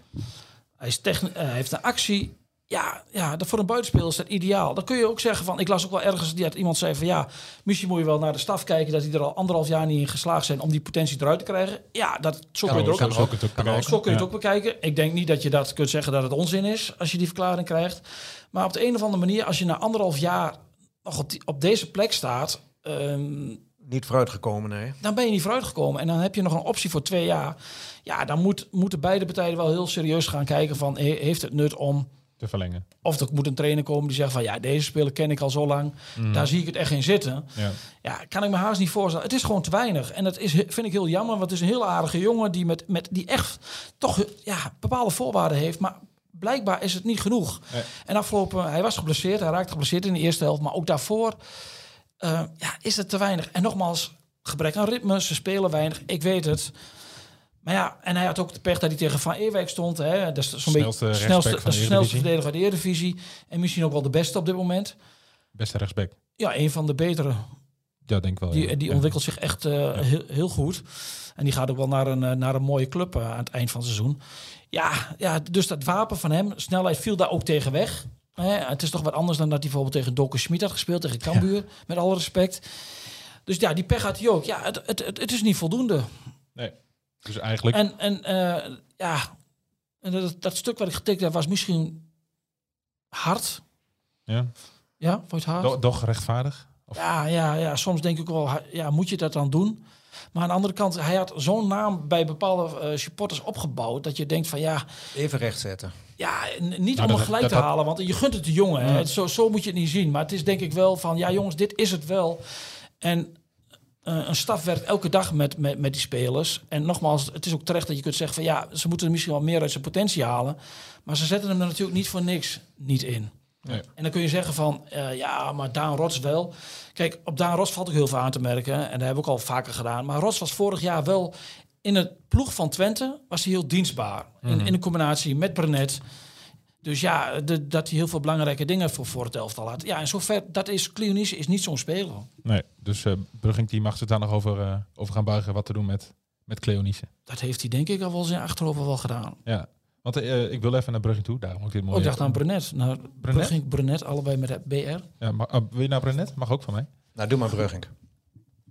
S5: hij is techni- eh, hij heeft een actie. Ja, ja, dat voor een buitenspeler is dat ideaal. Dan kun je ook zeggen van, ik las ook wel ergens dat iemand zei van ja, misschien moet je wel naar de staf kijken dat die er al anderhalf jaar niet in geslaagd zijn om die potentie eruit te krijgen. Ja, dat zo kun je er ook
S6: Zo kun je het ook
S5: nou,
S6: bekijken.
S5: zo kun je het
S6: Ja.
S5: ook bekijken. Ik denk niet dat je dat kunt zeggen dat het onzin is als je die verklaring krijgt. Maar op de een of andere manier, als je na anderhalf jaar nog op, die- op deze plek staat, ehm,
S7: Niet vooruitgekomen, nee.
S5: dan ben je niet vooruitgekomen. En dan heb je nog een optie voor twee jaar. Ja, dan moet, moeten beide partijen wel heel serieus gaan kijken van he- heeft het nut om.
S6: Te verlengen.
S5: Of er moet een trainer komen die zegt van ja, deze speler ken ik al zo lang. Daar zie ik het echt in zitten.
S6: Ja.
S5: Ja, kan ik me haast niet voorstellen. Het is gewoon te weinig. En dat is, he- vind ik heel jammer, want het is een heel aardige jongen die, met, met, die echt toch ja, bepaalde voorwaarden heeft. Maar blijkbaar is het niet genoeg.
S6: Nee.
S5: En afgelopen, hij was geblesseerd, hij raakte geblesseerd in de eerste helft. Maar ook daarvoor eh, ja, is het te weinig. En nogmaals, gebrek aan ritme, ze spelen weinig, ik weet het. Maar ja, en hij had ook de pech dat hij tegen Van Eerwijk stond. Hè. Dat is zo'n
S6: Snelste
S5: beetje
S6: rechtsback
S5: snelste,
S6: van de
S5: snelste
S6: Eredivisie.
S5: verdediger uit de Eredivisie. En misschien ook wel de beste op dit moment.
S6: Beste rechtsback.
S5: Ja, een van de betere.
S6: Ja, denk ik wel. ja.
S5: Die, die
S6: Ja.
S5: ontwikkelt zich echt eh, heel, heel goed. En die gaat ook wel naar een, eh, naar een mooie club eh, aan het eind van het seizoen. Ja, ja, dus dat wapen van hem, snelheid viel daar ook tegen weg. Hè, het is toch wat anders dan dat hij bijvoorbeeld tegen Dokke Schmid had gespeeld, tegen Cambuur, met alle respect. Dus ja, die pech had hij ook. Ja, het, het, het, het is niet voldoende.
S6: Nee. Dus eigenlijk...
S5: En, en eh, ja, en dat, dat stuk wat ik getikt heb was misschien hard. Eh,
S6: Ja.
S5: Ja, vond je het hard?
S6: Do- Doch rechtvaardig? Of-
S5: Ja, ja, ja, soms denk ik wel, ha- ja, moet je dat dan doen? Maar aan de andere kant, hij had zo'n naam bij bepaalde eh, supporters opgebouwd... dat je denkt van ja,
S7: Even recht zetten.
S5: ja n- niet
S6: Nou, dat-
S5: om het gelijk
S6: dat-
S5: te
S6: dat-
S5: halen... want je gunt het de jongen, hè. Zo, zo moet je het niet zien. Maar het is denk ik wel van, ja jongens, dit is het wel. En eh, eh, een staf werkt elke dag met, met, met die spelers. En nogmaals, het is ook terecht dat je kunt zeggen van ja, ze moeten er misschien wel meer uit zijn potentie halen. Maar ze zetten hem er natuurlijk niet voor niks niet in.
S6: Nee.
S5: En dan kun je zeggen van eh, ja, maar Daan Rots wel. Kijk, op Daan Rots valt ook heel veel aan te merken. En dat heb ik al vaker gedaan. Maar Rots was vorig jaar wel in het ploeg van Twente was hij heel dienstbaar. in, in de combinatie met Brenet. Dus ja, de- dat hij heel veel belangrijke dingen voor, voor het elftal had. Ja, en zover, dat is, Cleonice is niet zo'n speler.
S6: Nee, dus eh Brugging die mag zich daar nog over, eh, over gaan buigen wat te doen met, met Cleonice.
S5: Dat heeft hij denk ik al wel zijn achterhoofd wel gedaan.
S6: Ja, want eh, ik wil even naar Brugging toe, daarom ook dit mooie...
S5: Ook Oh, dacht aan Brenet. Nou,
S6: Brenet?
S5: Brenet? ging Brenet allebei met de BR.
S6: Ja, mag- ah, wil je naar Brenet? Mag ook van mij.
S7: Nou, doe maar Brugging.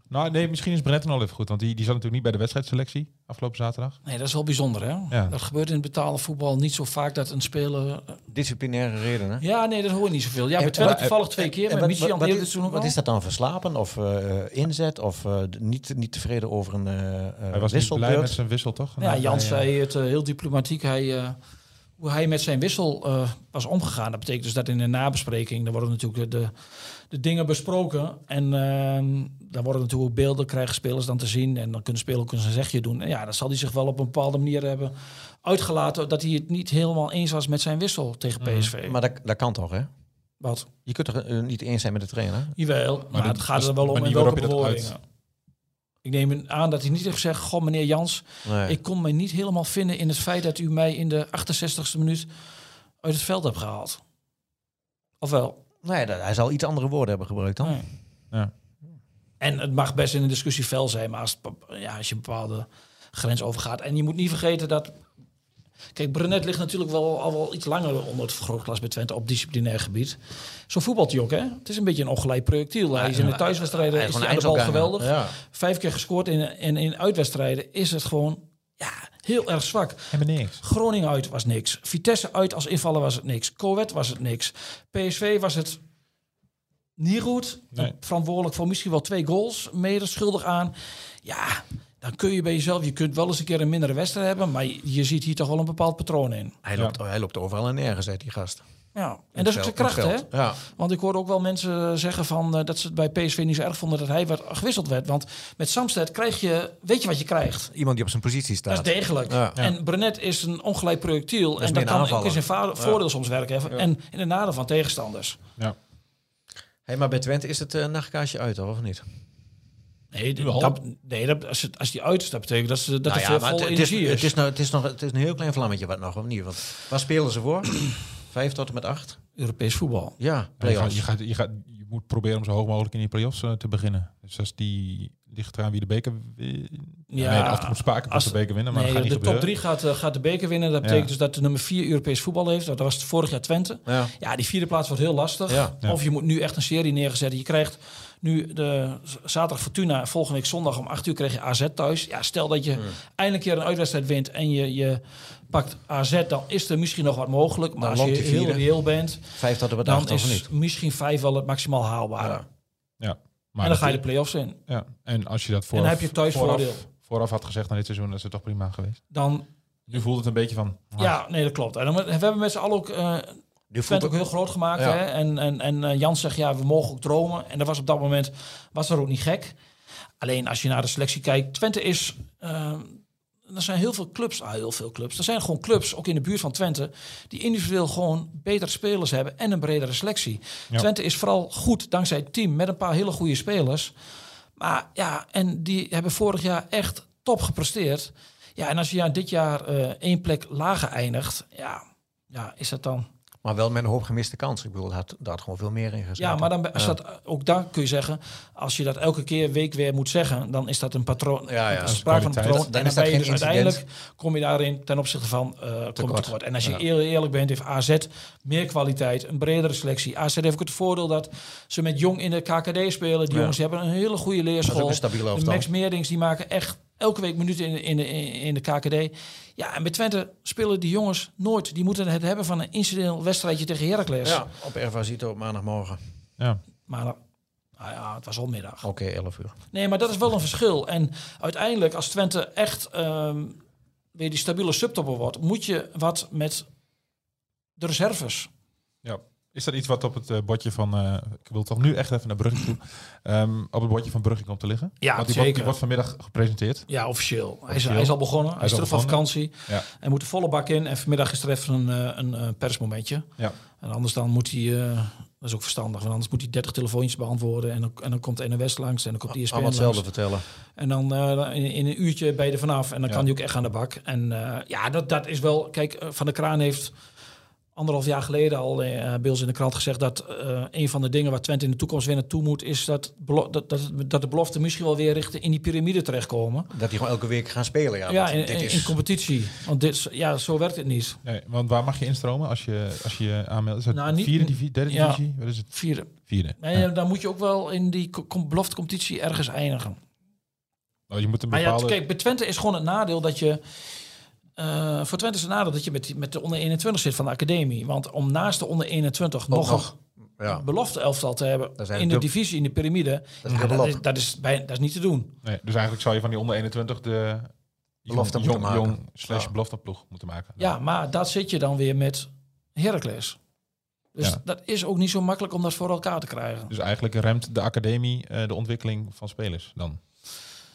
S6: Nou, nee, misschien is Brenet dan al even goed, want die, die zat natuurlijk niet bij de wedstrijdselectie afgelopen zaterdag.
S5: Nee, dat is wel bijzonder, hè?
S6: Ja.
S5: Dat gebeurt in het betalen voetbal niet zo vaak dat een speler... eh,
S7: Disciplinaire redenen.
S5: Ja, nee, dat hoor je niet zoveel. Ja, bij
S7: En-
S5: Twente
S7: en-
S5: toevallig twee keer.
S7: en
S5: Met
S7: wat-
S5: Michiel
S7: wat-
S5: eerder
S7: wat
S5: dit
S7: is-
S5: seizoen ook
S7: Wat
S5: al.
S7: is dat dan? Verslapen of eh, inzet of eh, niet, niet tevreden over een eh
S6: Hij was
S7: eh
S6: niet blij met
S7: wisselbeurt?
S6: zijn wissel, toch?
S5: Ja,
S6: Nou,
S5: Jan
S6: hij, eh,
S5: zei het eh, heel diplomatiek. Hij, eh, hoe hij met zijn wissel eh, was omgegaan. Dat betekent dus dat in de nabespreking, daar worden natuurlijk de, de, de dingen besproken. En ehm, daar worden natuurlijk ook beelden, krijgen spelers dan te zien. En dan kunnen spelers ook eens een zegje doen. En ja, dan zal hij zich wel op een bepaalde manier hebben uitgelaten dat hij het niet helemaal eens was met zijn wissel tegen PSV.
S7: Mm. Maar dat, dat kan toch, hè?
S5: Wat?
S7: Je kunt er eh, niet eens zijn met de trainer.
S5: Jawel, maar,
S6: dit
S5: het gaat
S6: is
S5: er wel
S6: de
S5: om in
S6: manier
S5: welke
S6: waarop je dat
S5: bewoordingen. Ik neem aan dat hij niet heeft gezegd... Goh, meneer Jans,
S7: Nee.
S5: Ik kon mij niet helemaal vinden in het feit dat u mij in de 68ste minuut uit het veld hebt gehaald. Ofwel.
S7: nee, dat- hij zal iets andere woorden hebben gebruikt dan.
S5: Nee.
S6: Ja.
S5: En het mag best in een discussie fel zijn, maar als, het bepa- ja, als je een bepaalde grens overgaat. En je moet niet vergeten dat. Kijk, Brenet ligt natuurlijk wel al wel iets langer onder het vergrootglas bij Twente op disciplinair gebied. Zo'n voetbaljok, hè? Het is een beetje een ongelijk projectiel. Hij is in de thuiswedstrijden
S7: Hij
S5: is
S7: is
S5: hij
S7: gewoon
S5: aan de bal
S7: een
S5: geweldig.
S7: Ja.
S5: Vijf keer gescoord in, en in uitwedstrijden is het gewoon ja, heel erg zwak.
S6: Helemaal niks.
S5: Groningen uit was niks. Vitesse uit als invallen was het niks. Coët was het niks. PSV was het niet goed.
S6: Nee.
S5: Verantwoordelijk voor misschien wel twee goals. Mede schuldig aan. Ja, dan kun je bij jezelf... Je kunt wel eens een keer een mindere wedstrijd hebben... maar je, je ziet hier toch wel een bepaald patroon in.
S7: Hij, loopt, hij loopt overal en nergens, hè, die gast.
S5: Ja. En dat is ook zijn
S7: In het
S5: kracht, hè?
S7: veld. Ja.
S5: Want ik hoorde ook wel mensen zeggen van, eh, dat ze het bij PSV niet zo erg vonden... dat hij werd, eh, gewisseld werd. Want met Samsted krijg je... Weet je wat je krijgt?
S7: Iemand die op zijn positie staat.
S5: Dat is degelijk.
S7: Ja.
S5: En Brenet is een ongelijk projectiel. en
S7: meer
S5: dat
S7: een
S5: kan ook
S7: aanvaller.
S5: in zijn va- voordeel soms werken. hè. En in de nadeel van tegenstanders.
S6: Ja.
S7: Hey, maar bij Twente is het eh, nachtkaasje uit, of niet?
S5: Nee,
S6: Nu al.
S5: dat, nee dat, als, het, als die uit is, dat betekent dat, ze, dat
S7: Nou
S5: er
S7: ja,
S5: veel
S7: maar
S5: vol
S7: het- het, is,
S5: energie is.
S7: het, is nou, het, is nog, het is een heel klein vlammetje wat nog, of niet? Want waar spelen ze voor? Vijf tot en met acht?
S5: Europees voetbal.
S7: Ja,
S6: Je, gaat,
S7: play-offs.
S6: je, gaat, je, gaat, je moet proberen om zo hoog mogelijk in die play-offs eh, te beginnen. Dus als die ligt eraan wie de beker... win-
S5: Ja,
S6: nee, de achter moet spaken moet
S5: als-
S6: de beker winnen, maar
S5: nee,
S6: Nou, dat gaat
S5: de
S6: niet
S5: top
S6: gebeuren.
S5: 3 gaat, eh, gaat de beker winnen. Dat betekent
S6: Ja.
S5: dus dat de nummer 4 Europees voetbal heeft. Dat was het vorig jaar Twente.
S7: Ja.
S5: Ja, die vierde plaats wordt heel lastig.
S7: Ja.
S6: Ja.
S5: Of je moet nu echt een serie neerzetten. Je krijgt nu de z- zaterdag Fortuna. Volgende week zondag om 8 uur krijg je AZ thuis. Ja, stel dat je eindelijk een keer een uitwedstrijd wint en je, je pakt AZ, dan is er misschien nog wat mogelijk. Maar
S7: Dan
S5: als je
S7: loopt die
S5: heel
S7: vierde.
S5: reëel bent,
S7: Vijf tot en met
S5: dan
S7: acht, of
S5: is
S7: niet?
S5: misschien 5 wel het maximaal haalbare.
S7: Ja.
S6: Ja. Maar
S5: En dan ga je
S6: dat-
S5: de play-offs in.
S6: Ja, en als je dat
S5: dan
S6: vooraf,
S5: heb je thuisvoordeel.
S6: vooraf, vooraf had gezegd na dit seizoen, dat is het toch prima geweest.
S5: Dan,
S6: Nu voelt het een beetje van... ah,
S5: ja, nee, dat klopt. En dan, we hebben met z'n allen ook eh,
S7: Die
S5: Twente ook
S7: voetbal-
S5: heel groot gemaakt.
S7: Ja.
S5: Hè? En, en, en eh, Jan zegt, ja, we mogen ook dromen. En dat was op dat moment, was er ook niet gek. Alleen als je naar de selectie kijkt, Twente is... eh, er zijn heel veel clubs, ah, heel veel clubs. Er zijn gewoon clubs, ook in de buurt van Twente, die individueel gewoon betere spelers hebben en een bredere selectie.
S6: Ja.
S5: Twente is vooral goed dankzij het team met een paar hele goede spelers. Maar ja, en die hebben vorig jaar echt top gepresteerd. Ja, en als je ja, dit jaar eh, één plek lager eindigt, ja, ja, is dat dan
S7: Maar wel met een hoop gemiste kans. Ik bedoel, daar had, daar had gewoon veel meer in gezeten.
S5: ja, maar dan, als dat, eh, ook daar kun je zeggen, als je dat elke keer week weer moet zeggen, dan is dat een patroon.
S7: ja,
S5: een
S7: dat is
S5: sprake van een
S6: kwaliteit.
S5: patroon.
S7: Dan
S5: en
S7: is
S5: dan
S7: dat
S5: ben je
S7: geen
S5: dus
S7: incident.
S5: uiteindelijk kom je daarin ten opzichte van eh kom je
S7: Tekort.
S5: tekort. En als je
S7: Ja.
S5: eerlijk, eerlijk bent, heeft AZ meer kwaliteit, een bredere selectie. AZ heeft ook het voordeel dat ze met jong in de KKD spelen. Die
S7: Ja.
S5: jongens hebben een hele goede
S7: Dat is ook
S5: leerschool.
S7: een stabiele
S5: de
S7: elftal.
S5: Max Meerdings die maken echt elke week minuten in, in, in, in de KKD. Ja, en bij Twente spelen die jongens nooit. Die moeten het hebben van een incidenteel wedstrijdje tegen Heracles.
S7: Ja, op Ervasito op maandagmorgen.
S6: ja.
S5: Maar dan- nou ja, het was al middag.
S7: Oké, 11 uur.
S5: Nee, maar dat is wel een verschil. En uiteindelijk, als Twente echt ehm, weer die stabiele subtopper wordt, moet je wat met de reserves.
S6: ja. Is dat iets wat op het eh, bordje van... eh, ik wil toch nu echt even naar Brugge toe. ehm, op het bordje van Brugge komt te liggen?
S5: Ja,
S6: Want die Wordt, die
S5: zeker.
S6: wordt vanmiddag gepresenteerd.
S5: Ja, officieel. Hij, is,
S6: Officieel.
S5: hij is al begonnen. Hij is
S6: al
S5: terug van
S6: begonnen.
S5: vakantie.
S6: Ja.
S5: Hij moet de volle bak in. En vanmiddag is er even een, eh, een eh, persmomentje.
S6: Ja.
S5: En anders dan moet hij... eh, dat is ook verstandig, want anders moet hij 30 telefoontjes beantwoorden. En dan, en dan komt de NOS langs en dan komt de E ESPN
S7: Allemaal
S5: langs.
S7: hetzelfde vertellen.
S5: En dan eh, in, in een uurtje ben je er vanaf. En dan
S6: Ja.
S5: kan hij ook echt aan de bak. En eh, ja, dat, dat is wel... Kijk, eh, Van der Kraan heeft anderhalf jaar geleden al eh, bij ons in de krant gezegd... dat eh, een van de dingen waar Twente in de toekomst weer naartoe moet... is dat, belo- dat, dat, dat de beloften misschien wel weer richting in die piramide terechtkomen.
S7: Dat die gewoon elke week gaan spelen. Ja,
S5: Ja,
S7: want
S5: in,
S7: dit
S5: in-
S7: is...
S5: in competitie. Want dit, is- ja, zo werkt het niet.
S6: Nee, want waar mag je instromen als je als je, je aanmeldt? Is dat
S5: Nou, niet-
S6: vierde divisie, derde
S5: ja.
S6: divisie? Wat is het?
S5: Vierde.
S6: Vierde.
S5: Nee,
S6: Ja.
S5: Dan moet je ook wel in die co- com- beloftecompetitie ergens eindigen.
S6: Oh, je moet een
S5: Maar ja,
S6: bepaalde...
S5: kijk, bij Twente is gewoon het nadeel dat je... eh, voor Twente is het nadeel dat je met, die- met de onder 21 zit van de academie. Want om naast de onder 21 nog,
S7: nog.
S5: een
S7: ja.
S5: belofte elftal te
S7: Dat is
S5: hebben
S7: eigenlijk
S5: in de
S7: dubbel.
S5: divisie, in de piramide,
S7: is
S5: ja, dat,
S7: dubbelop.
S5: is, dat, is bij, dat is niet te doen.
S6: nee, dus eigenlijk zou je van die onder 21 de
S7: Belofte
S6: jong,
S7: moeten
S6: jong,
S7: maken.
S6: jong slash
S7: Ja.
S6: belofteploeg moeten maken.
S5: Ja, maar dat zit je dan weer met Heracles. Dus
S6: Ja.
S5: dat is ook niet zo makkelijk om dat voor elkaar te krijgen.
S6: Dus eigenlijk remt de academie eh, de ontwikkeling van spelers dan.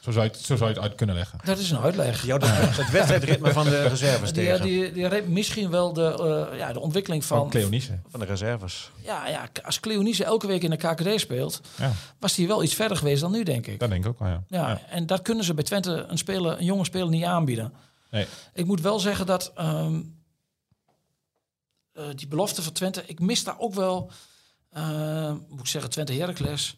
S6: Zo zou je het, zo zou je het uit kunnen leggen.
S5: Dat is een uitleg.
S7: Jou dat- het wedstrijdritme van de reserves
S5: Die,
S7: tegen.
S5: die, die reed misschien wel de, eh, ja, de ontwikkeling
S6: Van
S5: van...
S6: Cleonice.
S7: Van de reserves.
S5: Ja, ja, als Cleonice elke week in de KKD speelt,
S6: Ja,
S5: was hij wel iets verder geweest dan nu, denk ik.
S6: dat denk ik ook wel, ja.
S5: Ja, en dat kunnen ze bij Twente een, speler, een jonge speler niet aanbieden.
S6: Nee.
S5: Ik moet wel zeggen dat ehm, eh, die belofte van Twente, ik mis daar ook wel, ehm, moet ik zeggen, Twente Heracles.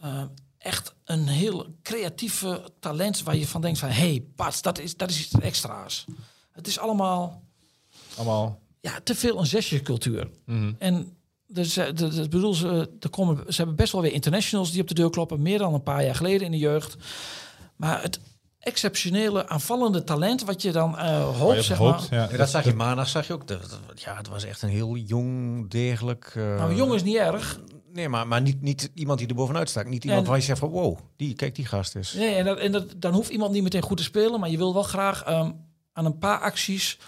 S5: ehm, echt een heel creatieve talent waar je van denkt van, hé, hey, pas, dat is, dat is iets extra's. Het is allemaal
S6: Allemaal.
S5: ja, te veel een zesjescultuur.
S7: Mhm.
S5: En dus, eh, de- de- ik bedoel, ze, er komen, ze hebben best wel weer internationals die op de deur kloppen. Meer dan een paar jaar geleden in de jeugd. Maar het exceptionele aanvallende talent wat je dan eh
S6: waar
S5: hoopt,
S6: je op
S5: zeg
S6: hoopt,
S5: maar.
S6: ja.
S7: Ja, dat zag je maandag, zag je ook. Dat, dat- ja, het was echt een heel jong, degelijk... eh,
S5: Nou, jong is niet erg.
S7: Nee, maar, maar niet, niet iemand die er bovenuit staat. Niet iemand
S5: En-
S7: waar je zegt van, wow, die, kijk die gast is.
S5: Nee, en dat, en dat, dan hoeft iemand niet meteen goed te spelen. Maar je wil wel graag ehm, aan een paar acties...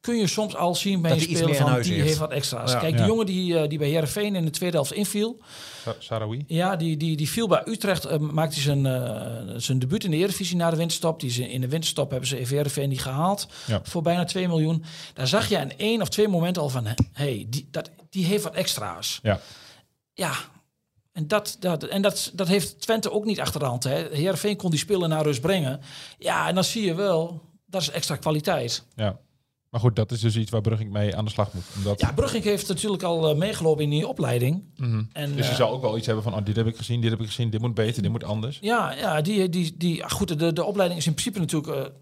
S5: kun je soms al zien bij
S7: Dat
S5: een
S7: hij iets
S5: speler
S7: meer in
S5: van...
S7: huis
S5: die
S7: heeft.
S5: heeft wat extra's.
S7: Ja.
S5: Kijk,
S6: Ja.
S5: die jongen die, eh, die bij Heerenveen in de tweede helft inviel...
S6: Sa- Sarawi.
S5: Ja, die, die, die viel bij Utrecht. eh, maakte hij zijn, eh, zijn debuut in de Eredivisie na de winterstop. Die ze, in de winterstop hebben ze VRV niet gehaald.
S6: Ja.
S5: Voor bijna 2 miljoen. Daar zag je in één of twee momenten al van... hé, hey, die, dat, die heeft wat extra's.
S6: Ja.
S5: Ja, en, dat, dat, en dat, dat heeft Twente ook niet achter de hand. Hè. Heerenveen kon die spullen naar rust brengen. Ja, en dan zie je wel... Dat is extra kwaliteit.
S6: ja. Maar goed, dat is dus iets waar Brugging mee aan de slag moet. Omdat,
S5: Ja, Brugging heeft natuurlijk al eh, meegelopen in die opleiding. En,
S6: dus je
S5: eh,
S6: zal ook wel iets hebben van, oh, dit heb ik gezien, dit heb ik gezien, dit moet beter, dit moet anders.
S5: Ja, ja die, die, die, ah, goed, de, de opleiding is in principe natuurlijk... eh,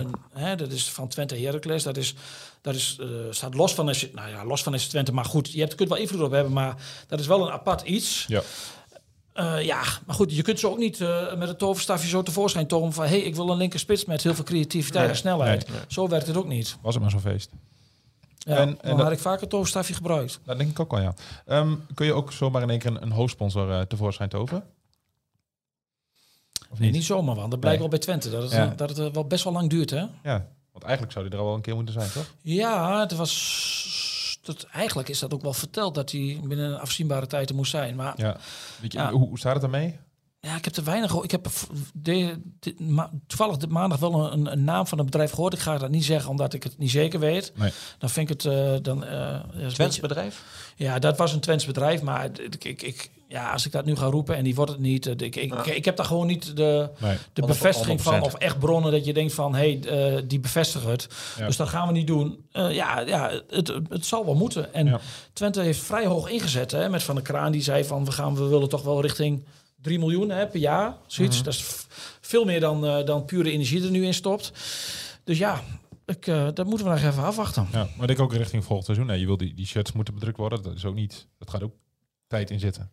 S5: een, hè, dat is van Twente Heracles. Dat, is, dat is, eh, staat los van... SC Nou ja, los van SC Twente. Maar goed, je hebt, kunt wel invloed op hebben. Maar dat is wel een apart iets.
S6: Ja.
S5: Eh, ja, maar goed, je kunt ze ook niet eh, met een toverstafje zo tevoorschijn tomen van... hé, hey, ik wil een linker spits met heel veel creativiteit en snelheid. Zo werkt het ook niet.
S6: Was het maar zo'n feest.
S5: Ja,
S6: En- en
S5: dan
S6: dat-
S5: had ik vaak een toverstafje gebruikt.
S6: Dat denk ik ook wel, ja. Ehm, kun je ook zomaar in één keer een, een hoofdsponsor eh, tevoorschijn toveren? Of
S5: Nee, niet zomaar, want dat blijkt
S6: Nee.
S5: wel bij Twente. Dat het,
S6: Ja.
S5: dat het eh, wel best wel lang duurt, hè?
S6: Ja, want eigenlijk zou die er al wel een keer moeten zijn, toch?
S5: Ja, het was. Dat, eigenlijk is dat ook wel verteld dat hij binnen een afzienbare tijd er moest zijn. Maar ja,
S6: Ja. Weet je,
S5: Ja.
S6: Hoe, hoe staat het daarmee?
S5: ik heb er weinig. geho- Ik heb v- de, dit ma- toevallig dit maandag wel een, een naam van een bedrijf gehoord. Ik ga dat niet zeggen omdat ik het niet zeker weet.
S6: Nee.
S5: Dan vind ik het. eh, dan, eh, ja, is een
S7: Twents
S5: beetje-
S7: bedrijf?
S5: ja, dat was een Twents bedrijf. Maar ik, ik, ik, ja, als ik dat nu ga roepen en die wordt het niet. eh, Ik, ik, ik, ik heb daar gewoon niet de,
S6: Nee.
S5: de
S7: 100%.
S5: bevestiging van of echt bronnen dat je denkt van hé, hey, eh, die bevestigen het.
S6: Ja.
S5: Dus dat gaan we niet doen. Eh, ja, ja het, het zal wel moeten. En
S6: Ja.
S5: Twente heeft vrij hoog ingezet hè, met Van der Kraan. Die zei van we, gaan, we willen toch wel richting 3 miljoen hè, per jaar. Zoiets.
S6: Mhm.
S5: Dat is f- veel meer dan, eh, dan pure energie er nu in stopt. Dus ja, ik, eh, dat moeten we nog even afwachten.
S6: Ja, maar ik denk ook richting volgend seizoen. Nee, je wil die, die shirts moeten bedrukt worden. Dat is ook niet. Dat gaat ook tijd in zitten.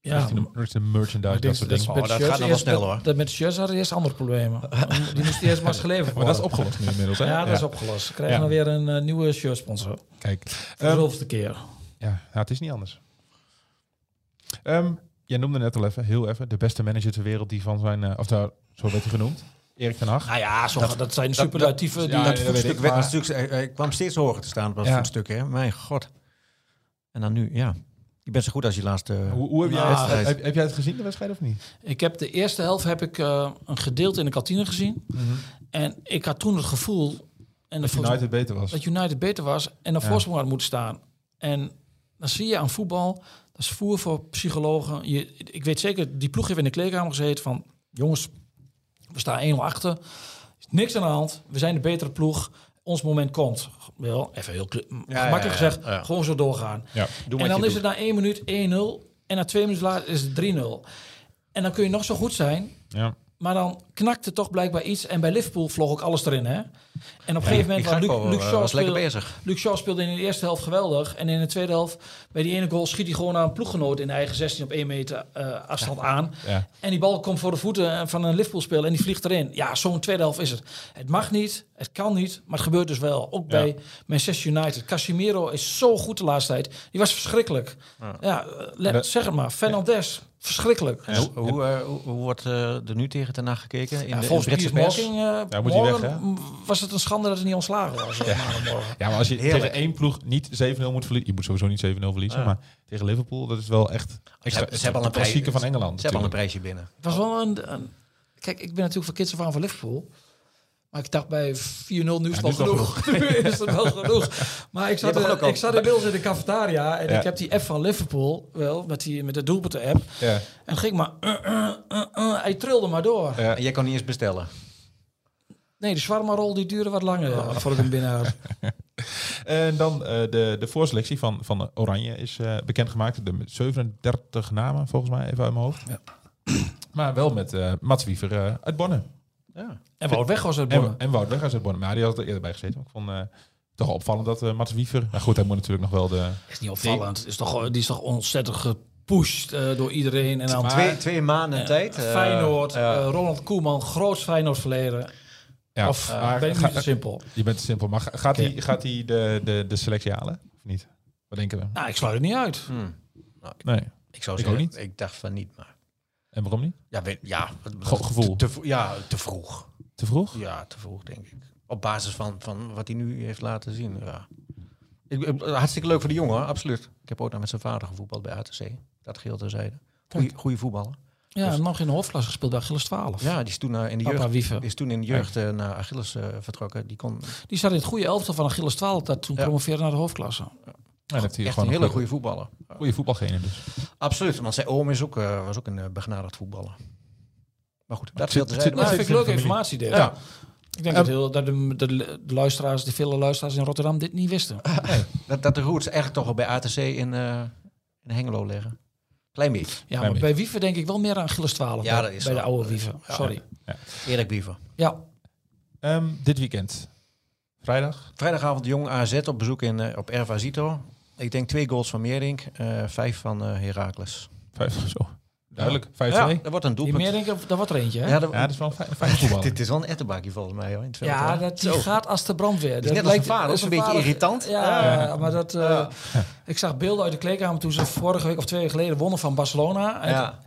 S5: Ja.
S6: Richting, de, richting de merchandise, dat soort dingen.
S7: Oh, dat gaat nog wel snel, hoor.
S5: Dat, met de shirts hadden eerst andere problemen. Die moesten eerst maar eens geleverd
S6: Maar dat is
S5: worden.
S6: opgelost nu inmiddels, hè?
S5: Ja, dat is opgelost. We krijgen
S6: Ja.
S5: dan weer een eh, nieuwe shirt sponsor.
S6: Kijk,
S5: Voor de zoveelste keer.
S6: ja, ja, het is niet anders. Ehm, jij noemde net al even, heel even, de beste manager ter wereld die van zijn, eh, of daar, zo werd hij genoemd, Erik ten Hag.
S5: Nou ja, zo, dat, dat zijn superlatieve... die-
S6: ja,
S7: dat
S6: nee, dat weet
S7: voetstuk eh,
S6: ik,
S7: werd
S6: maar-
S7: natuurlijk, hij, hij kwam steeds hoger te staan op dat
S6: Ja.
S7: voetstuk, hè? Mijn god. En dan nu, ja. Je bent zo goed als je laatste...
S6: Hoe, hoe heb, jij
S7: Nou,
S6: het,
S7: hij-
S6: heb, heb jij het gezien, de wedstrijd, of niet?
S5: Ik heb de eerste helft heb ik, eh, een gedeelte in de kantine gezien. En ik had toen het gevoel... En dat volgens-
S6: United beter was.
S5: dat United beter was en een voorsprong had moeten staan. En dan zie je aan voetbal, dat is voer voor psychologen. Je, ik weet zeker, die ploeg heeft in de kleedkamer gezeten van... jongens, we staan 1-0 achter, er is niks aan de hand, we zijn de betere ploeg... Ons moment komt. Wel, even heel kle- gemakkelijk gezegd. Gewoon zo doorgaan.
S6: Ja.
S5: en dan is het na één minuut 1-0. En na twee minuten later is het 3-0. En dan kun je nog zo goed zijn.
S6: Ja.
S5: Maar dan knakte toch blijkbaar iets. En bij Liverpool vloog ook alles erin, hè? En op een gegeven moment...
S7: die
S5: was Luc,
S7: Gakpo,
S5: Luc
S7: eh,
S5: Shaw
S7: was lekker
S5: speelde-
S7: bezig.
S5: Luc Shaw speelde in de eerste helft geweldig. En in de tweede helft, bij die ene goal, schiet hij gewoon aan een ploeggenoot in de eigen 16 op 1 meter eh, afstand aan.
S6: Ja.
S5: En die bal komt voor de voeten eh, van een Liverpool-speler en die vliegt erin. Ja, zo'n tweede helft is het. Het mag niet, het kan niet, maar het gebeurt dus wel. Ook
S6: Ja.
S5: bij Manchester United. Casimiro is zo goed de laatste tijd. Die was verschrikkelijk. Ja, eh, let-
S6: Ja.
S5: zeg het maar. Fernandes, verschrikkelijk.
S6: Ja.
S7: Hoe, hoe, eh, hoe- hoe wordt eh, er nu tegen ten gekeken? In
S5: Ja,
S7: de, in de
S5: volgens
S7: Britse
S5: Piers
S7: pers?
S5: Morgan eh,
S6: Ja, moet hij
S5: morgen
S6: weg, hè?
S5: m- was het een schande dat hij niet ontslagen was. eh, maandagmorgen.
S6: Ja, maar als je
S7: Heerlijk.
S6: tegen één ploeg niet 7-0 moet verliezen... Je moet sowieso niet 7-0 verliezen,
S7: Ja.
S6: maar tegen Liverpool... Dat is wel echt
S7: Ze hebben- ze hebben al
S6: de
S7: een prijs-
S6: klassieker van Engeland.
S7: Ze hebben al een
S6: natuurlijk.
S7: prijsje binnen.
S5: Het was wel een, een- Kijk, ik ben natuurlijk van kids af aan van Liverpool. Maar ik dacht bij 4-0 nu is het
S6: nu
S5: wel
S6: is het al
S5: genoeg. Nu is het wel genoeg. Maar ik zat,
S7: Je hebt
S5: eh,
S7: ook al-
S5: ik zat inmiddels in de cafetaria. En
S6: Ja.
S5: ik heb die app van Liverpool. Wel, met, die, met de doelpunten app.
S6: Ja.
S5: En dan ging ik maar... eh, eh, eh, eh, hij trilde maar door.
S6: Ja.
S7: En jij kan niet eens bestellen.
S5: Nee, de shawarma-rol die duurde wat langer. eh, voordat ik hem binnen had.
S6: En dan eh, de, de voorselectie van, van Oranje is eh, bekendgemaakt. De 37 namen, volgens mij, even uit mijn hoofd. Maar wel met eh Mats Wiever eh, uit Bonn.
S5: En Wout weg was het
S6: En,
S5: bonnen.
S6: en Wout Weghorst uit Bonn. Maar die had er eerder bij gezeten. Maar ik vond eh, toch wel opvallend dat eh Mats Wiever... Nou goed, hij moet natuurlijk nog wel de...
S5: Is niet opvallend. Is toch, eh, die is toch ontzettend gepusht eh, door iedereen. En dan
S7: Twee, twee maanden tijd. eh,
S5: Feyenoord,
S7: ja.
S5: eh, Ronald Koeman, groots Feyenoord verleden.
S6: Ja,
S5: Of
S6: maar
S5: eh, ben ik
S6: ga-
S5: niet te simpel?
S6: je bent simpel. Maar ga- gaat hij
S5: Oké.
S6: gaat hij de, de, de selectie halen? Of niet? Wat denken we?
S5: Nou, ik sluit het niet uit.
S7: Hmm.
S6: Nee.
S7: Ik zou
S6: Ik
S7: zeggen,
S6: ook
S7: ik,
S6: niet.
S7: dacht van niet, maar...
S6: En waarom niet?
S7: Ja, weet, ja
S6: Gewoon gevoel.
S7: Te, te vro- ja, te vroeg.
S6: Te vroeg?
S7: Ja, te vroeg, denk ik. Op basis van, van wat hij nu heeft laten zien, ja. Ik, ik- hartstikke leuk voor de jongen, hoor, absoluut. Ik heb ook nog met zijn vader gevoetbald bij ATC. Dat geheel terzijde. Goeie, goeie voetballer.
S5: Ja, nog in de hoofdklasse gespeeld bij Gilles 12.
S7: Dus- Ja, die is toen eh, in de
S5: Papa
S7: jeugd,
S5: Wiever.
S7: die is toen in de jeugd eh, naar Achilles eh, vertrokken. Die kon
S5: Die zat in het goede elftal van Gilles 12, dat toen
S7: Ja.
S5: promoveerde naar de hoofdklasse. Nou,
S6: Ja, dan heeft hij
S7: echt
S6: gewoon
S7: een hele
S6: goede,
S7: goede voetballer.
S6: goede voetbalgenen dus.
S7: Absoluut, want zijn oom is ook, eh, was ook een eh, begnadigd voetballer. Maar goed, dat
S6: het
S7: geheel
S6: zit- het zit
S7: terzijde.
S5: Nou, dat
S6: nog
S7: Maar-
S5: vind ik leuke informatie, Dirk.
S7: Ja.
S5: Ik denk dat, heel, dat de, de, de luisteraars, de vele luisteraars in Rotterdam dit niet wisten.
S7: Ah, Dat, dat de roots eigenlijk toch al bij ATC in, eh, in Hengelo liggen. Klein beetje.
S5: Ja, maar
S6: beetje.
S5: bij Wieven denk ik wel meer aan Gilles 12.
S7: Ja,
S5: bij-
S7: dat is
S5: bij
S7: zo.
S5: de oude Wieven.
S7: Ja.
S5: Sorry.
S7: Erik Biever.
S5: Ja,
S6: Ehm, dit weekend. Vrijdag.
S7: Vrijdagavond Jong AZ op bezoek in, eh, op Ervazito. Ik denk twee goals van Meerdink, eh, vijf van eh Herakles.
S6: Vijf zo. Duidelijk. Vijf,
S7: Ja,
S6: twee.
S7: dat wordt een
S5: die
S7: doelpunt.
S5: meer dat wordt er eentje, hè?
S7: Ja, dat,
S6: Ja, dat is wel een fijn, fijn voetballer.
S7: dit is wel een ettenbakje volgens mij. Hoor, in het veld,
S5: Ja,
S7: hoor.
S5: dat die
S7: Zo.
S5: gaat als de brandweer.
S7: is net als zijn vader,
S5: dat is
S7: ook een beetje
S5: vader-
S7: irritant.
S5: Ja, maar dat... eh, Ik zag beelden uit de kleedkamer toen ze vorige week of twee weken geleden wonnen van Barcelona. En
S7: Ja.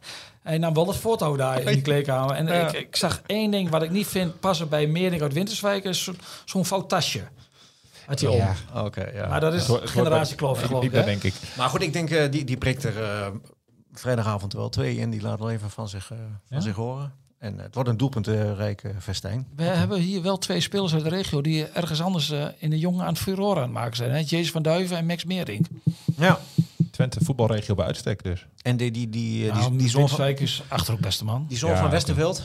S5: Hij nam nou, wel het foto daar in die kleedkamer. En ik, ik zag één ding wat ik niet vind passen bij Meerdink uit Winterswijk. is zo- zo'n fout tasje. Had hij om.
S7: Oké, ja.
S5: Maar dat is
S6: Het hoort- het hoort
S5: generatiekloof
S6: bij-
S5: geloof ik.
S6: diep daar,
S5: hè?
S6: denk ik.
S7: Maar goed, ik denk eh, die, die prikt er eh, vrijdagavond wel twee in. Die laat wel even van zich, eh, van
S6: Ja?
S7: zich horen. En eh, het wordt een doelpuntrijke festijn.
S5: We hebben hier wel twee spelers uit de regio die ergens anders eh, in de jongen aan het furoren aan het maken zijn. Hè? Jason van Duiven en Max Meerdink.
S7: Ja.
S6: Twente voetbalregio bij uitstek dus.
S7: En die, die, die, eh, die,
S5: Nou,
S7: die zoon van,
S5: Winterswijk is achterop beste man.
S7: die zoon
S6: Ja,
S7: van
S6: oké.
S7: Westerveld,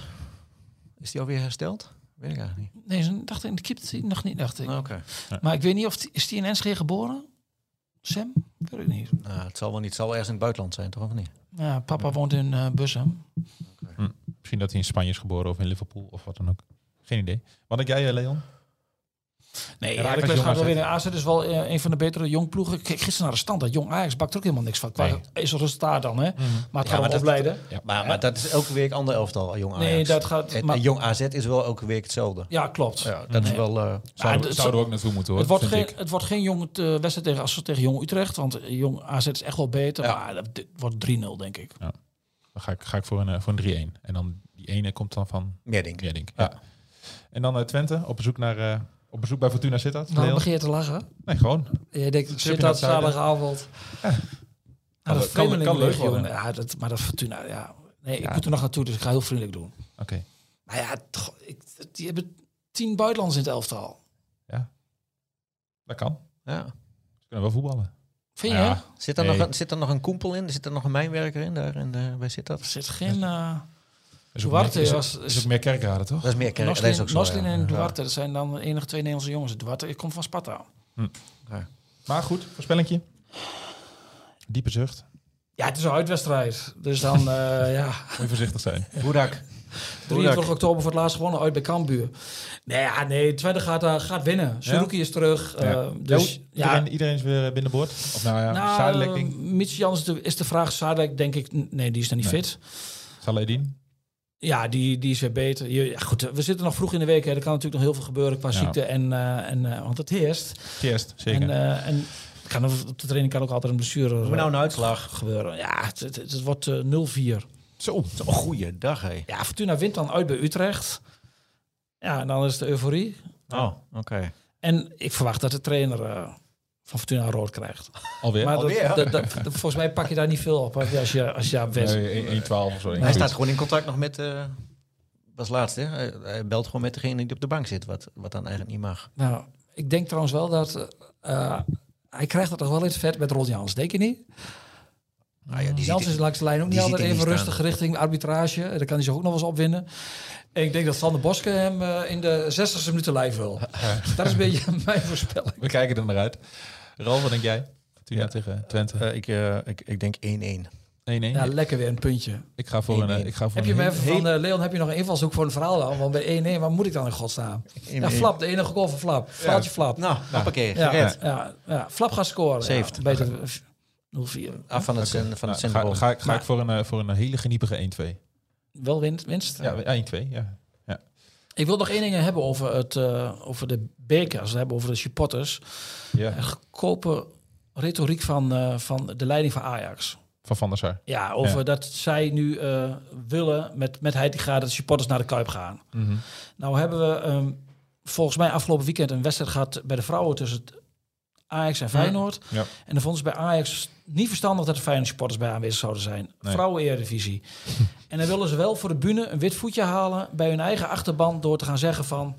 S7: is die alweer hersteld? Weet ik eigenlijk niet.
S5: Nee, ze dacht in de keeper nog niet, dacht ik.
S7: Nou, Oké.
S5: Maar ik weet niet of die- is die in Enschede geboren? Sam? Weet ik niet.
S7: Nou, het zal wel niet. Het zal wel ergens in het buitenland zijn, toch? Of niet?
S5: Ja, papa woont in eh Bussum.
S6: Misschien dat hij in Spanje is geboren of in Liverpool of wat dan ook. Geen idee. Wat denk jij, eh, Leon?
S5: Nee,
S6: Heracles
S5: Heracles
S6: Jong
S5: gaat wel
S6: AZ.
S5: weer in AZ. is wel eh, een van de betere jongploegen. Ik keek gisteren naar de stand. Dat jong Ajax bakt er ook helemaal niks van. Qua is het resultaat dan, hè?
S6: Mhm.
S5: Maar het gaat
S7: maar
S5: wel
S7: dat-
S5: opleiden.
S7: Maar, maar dat is elke week ander elftal, eh, jong Ajax.
S5: Nee, dat gaat-
S7: En,
S5: maar-
S7: en jong AZ is wel elke week hetzelfde.
S5: Ja, klopt.
S7: Ja, dat is wel... eh,
S6: Zouden,
S5: het-
S6: zouden we ook naartoe moeten hoor.
S5: Het wordt,
S6: vind
S5: geen,
S6: ik.
S5: het wordt geen jong eh, wedstrijd tegen, als tegen jong Utrecht. Want eh, jong AZ is echt wel beter.
S7: Ja.
S5: Maar dat dit wordt 3-0, denk ik.
S6: Dan ga ik, ga ik voor een, eh, voor een 3-1. En dan die ene komt dan van
S7: meer denk ik.
S6: Redding. Ja. En dan eh, Twente op bezoek naar eh Op bezoek bij Fortuna Sittard?
S7: Nou,
S5: Waarom
S6: Leon?
S5: begin je te lachen?
S6: Nee, gewoon.
S5: Je denkt,
S6: Tripje
S5: zit
S6: naar
S5: dat
S6: het zuiden.
S5: zaterdagavond? Ja,
S6: Kan-
S5: dat
S6: kan- kan leuk
S5: vreemdelingenlegioen.
S6: worden.
S5: Ja, dat, maar dat Fortuna, ja. Nee, ik moet er nog naartoe, dus ik ga heel vriendelijk doen.
S6: Oké.
S5: Maar ja, toch, ik, die hebben tien buitenlanders in het elftal.
S6: Dat kan.
S7: Ja.
S6: Ze kunnen wel voetballen.
S5: Vind je?
S6: Ja.
S5: hè?
S7: Zit, er
S6: Hey.
S7: nog een, zit er nog een koempel in? Zit er nog een mijnwerker in? Daar in de, bij zit dat?
S5: Er zit geen... eh,
S6: Is ook
S5: Duarte
S6: meer- is ook-
S5: was...
S6: is ook meer kerkraden, toch?
S7: Dat is meer kerk. Dat is
S5: Noslin,
S7: ook zo,
S5: Noslin
S7: ja.
S5: en
S7: Ja.
S5: Duarte, dat zijn dan de enige twee Nederlandse jongens. Duarte ik kom van Sparta.
S6: Maar goed, voorspellingje. Diepe zucht.
S5: Ja, het is een uitwedstrijd. Dus dan, eh, ja,
S6: Moet je voorzichtig zijn.
S7: Boerak.
S5: 23 oktober voor het laatst gewonnen, uit bij Cambuur. Nee, ja, nee, Twente gaat, eh, gaat winnen. Suzuki is terug. eh,
S6: Ja.
S5: dus,
S6: Jo,
S5: ja,
S6: iedereen, iedereen is weer eh, binnenboord. Of nou ja, nou,
S5: nou,
S6: Sadilek,
S5: eh,
S6: denk ik.
S5: Mitch Jans is de, is de vraag. Sadek, denk ik, n- nee, die is dan niet
S6: Nee.
S5: fit.
S6: Saladin.
S5: Ja, die, die is weer beter. Je- Ja, goed, eh, we zitten nog vroeg in de week. Hè. Er kan natuurlijk nog heel veel gebeuren qua
S6: Ja.
S5: ziekte. En, eh, en, eh, want het heerst.
S6: Kerst,
S5: En,
S6: zeker.
S5: eh, en kan, er- op de training kan ook altijd een blessure
S7: Hoe nou
S5: eh,
S7: een uitslag?
S5: gebeuren. Ja, het, het, het wordt eh, 0-4.
S6: Zo.
S7: Goeiedag, hé.
S5: Ja, Fortuna wint dan uit bij Utrecht. Ja, en dan is de euforie.
S7: Oh, oké.
S5: En ik verwacht dat de trainer eh, van Fortuna een rood krijgt.
S6: Alweer.
S5: maar dat,
S7: alweer, hè?
S5: dat, dat- dat- volgens mij pak je daar niet veel op hè, als je, als je daar bent.
S6: Nee, 1-12 of zo.
S7: Hij staat gewoon in contact nog met... eh was laatst, hè? Hij, hij belt gewoon met degene die op de bank zit, wat, wat dan eigenlijk niet mag.
S5: Nou, ik denk trouwens wel dat... eh, hij krijgt het toch wel eens vet met Rod Jans, denk je niet?
S7: Ah ja, die
S5: Jans is
S7: ziet-
S5: langs de lijn ook niet
S7: die ziet
S5: altijd
S7: hij
S5: even
S7: niet
S5: rustig richting arbitrage. Daar kan hij zich ook nog wel eens opwinden. En ik denk dat Van der Boske hem eh, in de 60ste minuut de lijf wil. Dat is een beetje mijn voorspelling.
S6: We kijken er naar uit. Ralf, wat denk jij? Fortuna
S7: Ja.
S6: tegen Twente. 1-1.
S7: Eh, ik, eh, ik, ik denk 1-1.
S5: Ja, lekker weer een puntje.
S6: ik ga voor een... eh, Ik ga voor
S5: Heb je
S6: een
S5: me
S6: heel-
S5: even van, eh, Leon, heb je nog een invalshoek voor een verhaal dan? Want bij 1-1, waar moet ik dan in godsnaam? Ja, Flap, de enige goal van Flap. Flaaltje Flap.
S7: Nou, hoppakee,
S5: ja,
S7: gered.
S5: ja, ja, Flap gaat scoren.
S7: Saved.
S5: Ja, beter eh, 0-4.
S7: Af van het, zin- van
S6: Nou,
S7: het
S6: ga
S7: centrum.
S6: ga, ik- ga ik
S5: Maar-
S6: voor een, eh, voor een hele geniepige 1-2.
S5: Wel winst. winst.
S6: Ja, 1-2, ja.
S5: Ik wil nog één ding hebben over, het, eh, over de bekers. We hebben over de supporters.
S6: ja.
S5: Een goedkope retoriek van, eh, van de leiding van Ajax.
S6: Van Van der Sar.
S5: Ja, over
S6: Ja.
S5: dat zij nu eh, willen met, met Heitinga dat de supporters naar de Kuip gaan.
S6: Mhm.
S5: Nou hebben we ehm, volgens mij afgelopen weekend een wedstrijd gehad bij de vrouwen tussen het Ajax en Feyenoord.
S6: Ja.
S5: En dan vonden ze bij Ajax niet verstandig dat de Feyenoord supporters bij aanwezig zouden zijn.
S6: Nee.
S5: Vrouwen Eredivisie. en dan willen ze wel voor de bühne een wit voetje halen bij hun eigen achterban door te gaan zeggen van...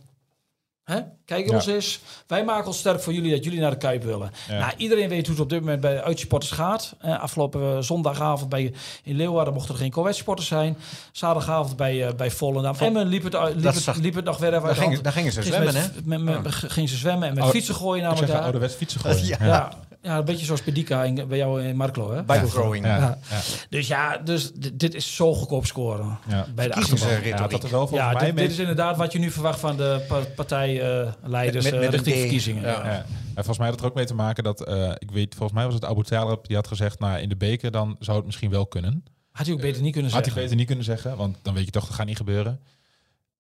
S5: Hè? Kijk
S6: Ja.
S5: ons eens. Wij maken ons sterk voor jullie dat jullie naar de Kuip willen.
S6: Ja.
S5: Nou, iedereen weet hoe het op dit moment bij de uitsporters gaat. Eh, afgelopen eh, zondagavond bij, in Leeuwarden mochten er geen co-uitsporters zijn. Zaterdagavond bij, eh bij Volendam. Emmen liep het, uit- liep,
S7: Dat
S5: het,
S7: zag-
S5: liep het nog verder.
S7: Daar, ging, daar gingen ze zwemmen, hè?
S5: met, met, met, Ging ze zwemmen en met
S6: Oh,
S5: fietsen gooien
S6: Ik
S5: namelijk
S6: zeg een
S5: daar.
S6: ouderwets fietsen gooien.
S7: Ja.
S5: Ja, ja, een beetje zoals Pedika in, bij jou in Marklo. Hè?
S7: Bible throwing.
S6: Ja.
S5: Ja.
S6: Ja.
S5: Dus ja, dus dit, dit is zo goedkoop scoren
S6: Ja.
S5: bij de
S7: Kiezen ze
S5: achterban.
S6: Ja, dat
S7: retoriek.
S6: er wel volgens
S5: Ja,
S6: mij
S5: dit,
S6: mee-
S5: dit is inderdaad wat je nu verwacht van de pa- partijleiders
S7: Met- met- met
S5: eh,
S7: een
S5: richting
S7: D.
S5: verkiezingen.
S7: Ja.
S6: Ja. En volgens mij had het er ook mee te maken dat, eh, ik weet, volgens mij was het Abu Talib die had gezegd, nou in de beker dan zou het misschien wel kunnen.
S5: Had hij ook beter niet kunnen
S6: Had hij
S5: zeggen.
S6: beter niet kunnen zeggen, want dan weet je toch, dat gaat niet gebeuren.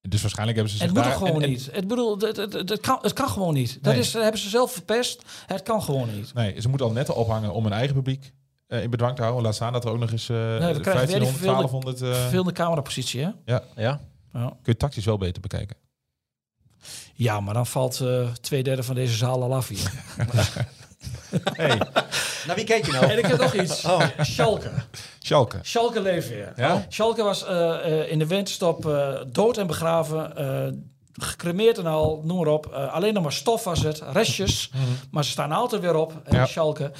S6: Dus waarschijnlijk hebben ze
S5: Het
S6: zich
S5: moet
S6: daar-
S5: toch gewoon
S6: en- en-
S5: niet. Het, bedoel, het, het, het, kan, het kan gewoon niet. Dat
S6: Nee.
S5: is, dat hebben ze zelf verpest. Het kan gewoon niet.
S6: Nee, ze moeten al netten ophangen om hun eigen publiek eh, in bedwang te houden. Laat staan dat er ook nog eens eh
S5: Nou, krijgen weer die
S6: 1500,
S5: verveelde-
S6: 1200... eh,
S5: Vervelende camerapositie, hè?
S7: Ja?
S5: Ja.
S6: kun je tactisch wel beter bekijken.
S5: Ja, maar dan valt eh, twee derde van deze zaal al af hier.
S7: Nou, wie kijk je
S5: en
S7: nou?
S5: ik heb nog iets. Schalke.
S6: Schalke.
S5: Schalke leeft weer.
S6: Oh. Ja?
S5: Schalke was eh, eh, in de winterstop eh, dood en begraven. eh gecremeerd en al, noem maar op. Eh, alleen nog maar stof was het, restjes. Maar ze staan altijd weer op, eh,
S6: Mhm. Ja.
S5: Schalke.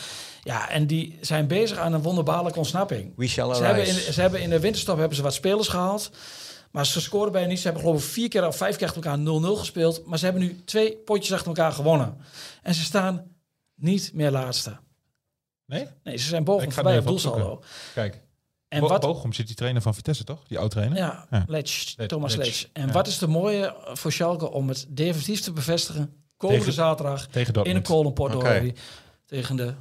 S5: Ja, en die zijn bezig aan een wonderbaarlijke ontsnapping.
S7: We shall
S5: Ze hebben, in,
S7: arise.
S5: ze hebben in de winterstop hebben ze wat spelers gehaald. Maar ze scoren bijna niet. Ze hebben geloof ik vier keer of vijf keer achter elkaar 0-0 gespeeld. Maar ze hebben nu twee potjes achter elkaar gewonnen. En ze staan niet meer laatste.
S6: Nee?
S5: Nee, ze zijn
S6: Ik
S5: boven
S6: ga
S5: voorbij
S6: het
S5: op
S6: even opzoeken.
S5: doelsaldo.
S6: Kijk.
S5: En
S6: Bo-
S5: wat,
S6: Bochum zit die trainer van Vitesse, toch? Die oud-trainer?
S5: Ja,
S6: Ja.
S5: Letsch,
S6: Let-
S5: Thomas
S6: Letsch.
S5: Letsch. En
S6: Ja.
S5: wat is de mooie voor Schalke om het definitief te bevestigen? Komende
S6: Tegen-
S5: zaterdag
S6: Tegen
S5: in de
S6: Dortmund.
S5: Kolenport
S7: Oké.
S5: tegen de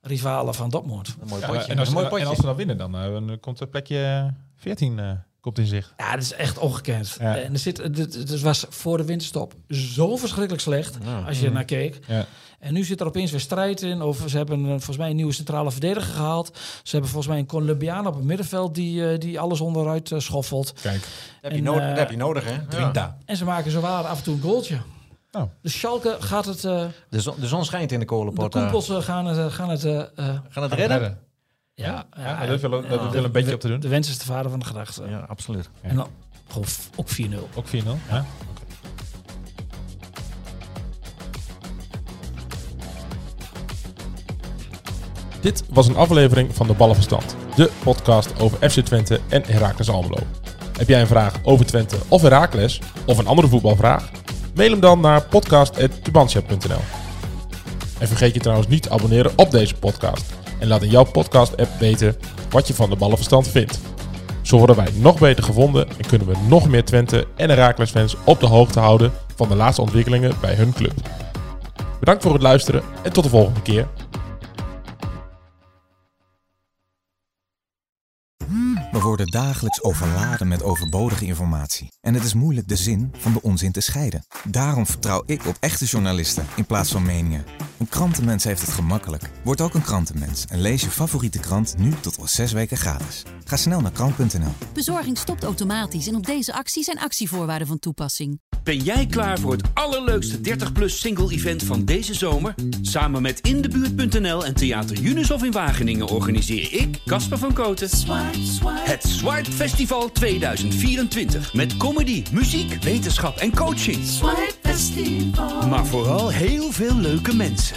S5: rivalen van Dortmund.
S7: Een mooi
S6: Ja,
S7: potje.
S6: en, als,
S7: een mooi
S6: en- en
S7: potje.
S6: als we dan winnen, dan, eh, dan komt het plekje 14 eh, komt in zicht.
S5: Ja, dat is echt ongekend.
S6: Ja.
S5: En er zit, het, het was voor de winterstop zo verschrikkelijk slecht als je ernaar keek.
S6: Ja.
S5: En nu zit er opeens weer strijd in. Of ze hebben eh, volgens mij een nieuwe centrale verdediger gehaald. Ze hebben volgens mij een Colombiaan op het middenveld die, eh, die alles onderuit eh, schoffelt.
S6: Kijk.
S7: Dat heb je
S5: En,
S7: nodig-
S5: eh,
S7: dat heb je nodig, hè? Ja.
S5: En ze maken zo waar af en toe een goaltje.
S6: Nou.
S5: Dus Schalke gaat het... eh,
S7: De zon, de zon schijnt in de
S5: de
S7: kolenpot. eh.
S5: koepels eh, gaan het... eh, gaan het eh, eh,
S7: Gaan het redden?
S5: ja, ja,
S6: Ja, dat willen we- dat
S5: ja.
S6: willen we een beetje op te doen.
S5: De wens is de vader van de gedachte.
S7: Ja, absoluut.
S5: En dan gewoon f- ook 4-0.
S6: Ook 4-0. Ja. Dit was een aflevering van de Ballenverstand, de podcast over FC Twente en Heracles Almelo. Heb jij een vraag over Twente of Heracles of een andere voetbalvraag? Mail hem dan naar podcast@tubantia.nl. En vergeet je trouwens niet te abonneren op deze podcast en laat in jouw podcast app weten wat je van de Ballenverstand vindt. Zo worden wij nog beter gevonden en kunnen we nog meer Twente en Heracles fans op de hoogte houden van de laatste ontwikkelingen bij hun club. Bedankt voor het luisteren en tot de volgende keer.
S2: We worden dagelijks overladen met overbodige informatie. En het is moeilijk de zin van de onzin te scheiden. Daarom vertrouw ik op echte journalisten in plaats van meningen. Een krantenmens heeft het gemakkelijk. Word ook een krantenmens en lees je favoriete krant nu tot al zes weken gratis. Ga snel naar krant.nl.
S8: Bezorging stopt automatisch en op deze actie zijn actievoorwaarden van toepassing.
S1: Ben jij klaar voor het allerleukste 30-plus single-event van deze zomer? Samen met Indebuurt.nl en Theater Junushof in Wageningen organiseer ik, Casper van Koten, het Swipe Festival 2024. Met comedy, muziek, wetenschap en coaching. Maar vooral heel veel leuke mensen.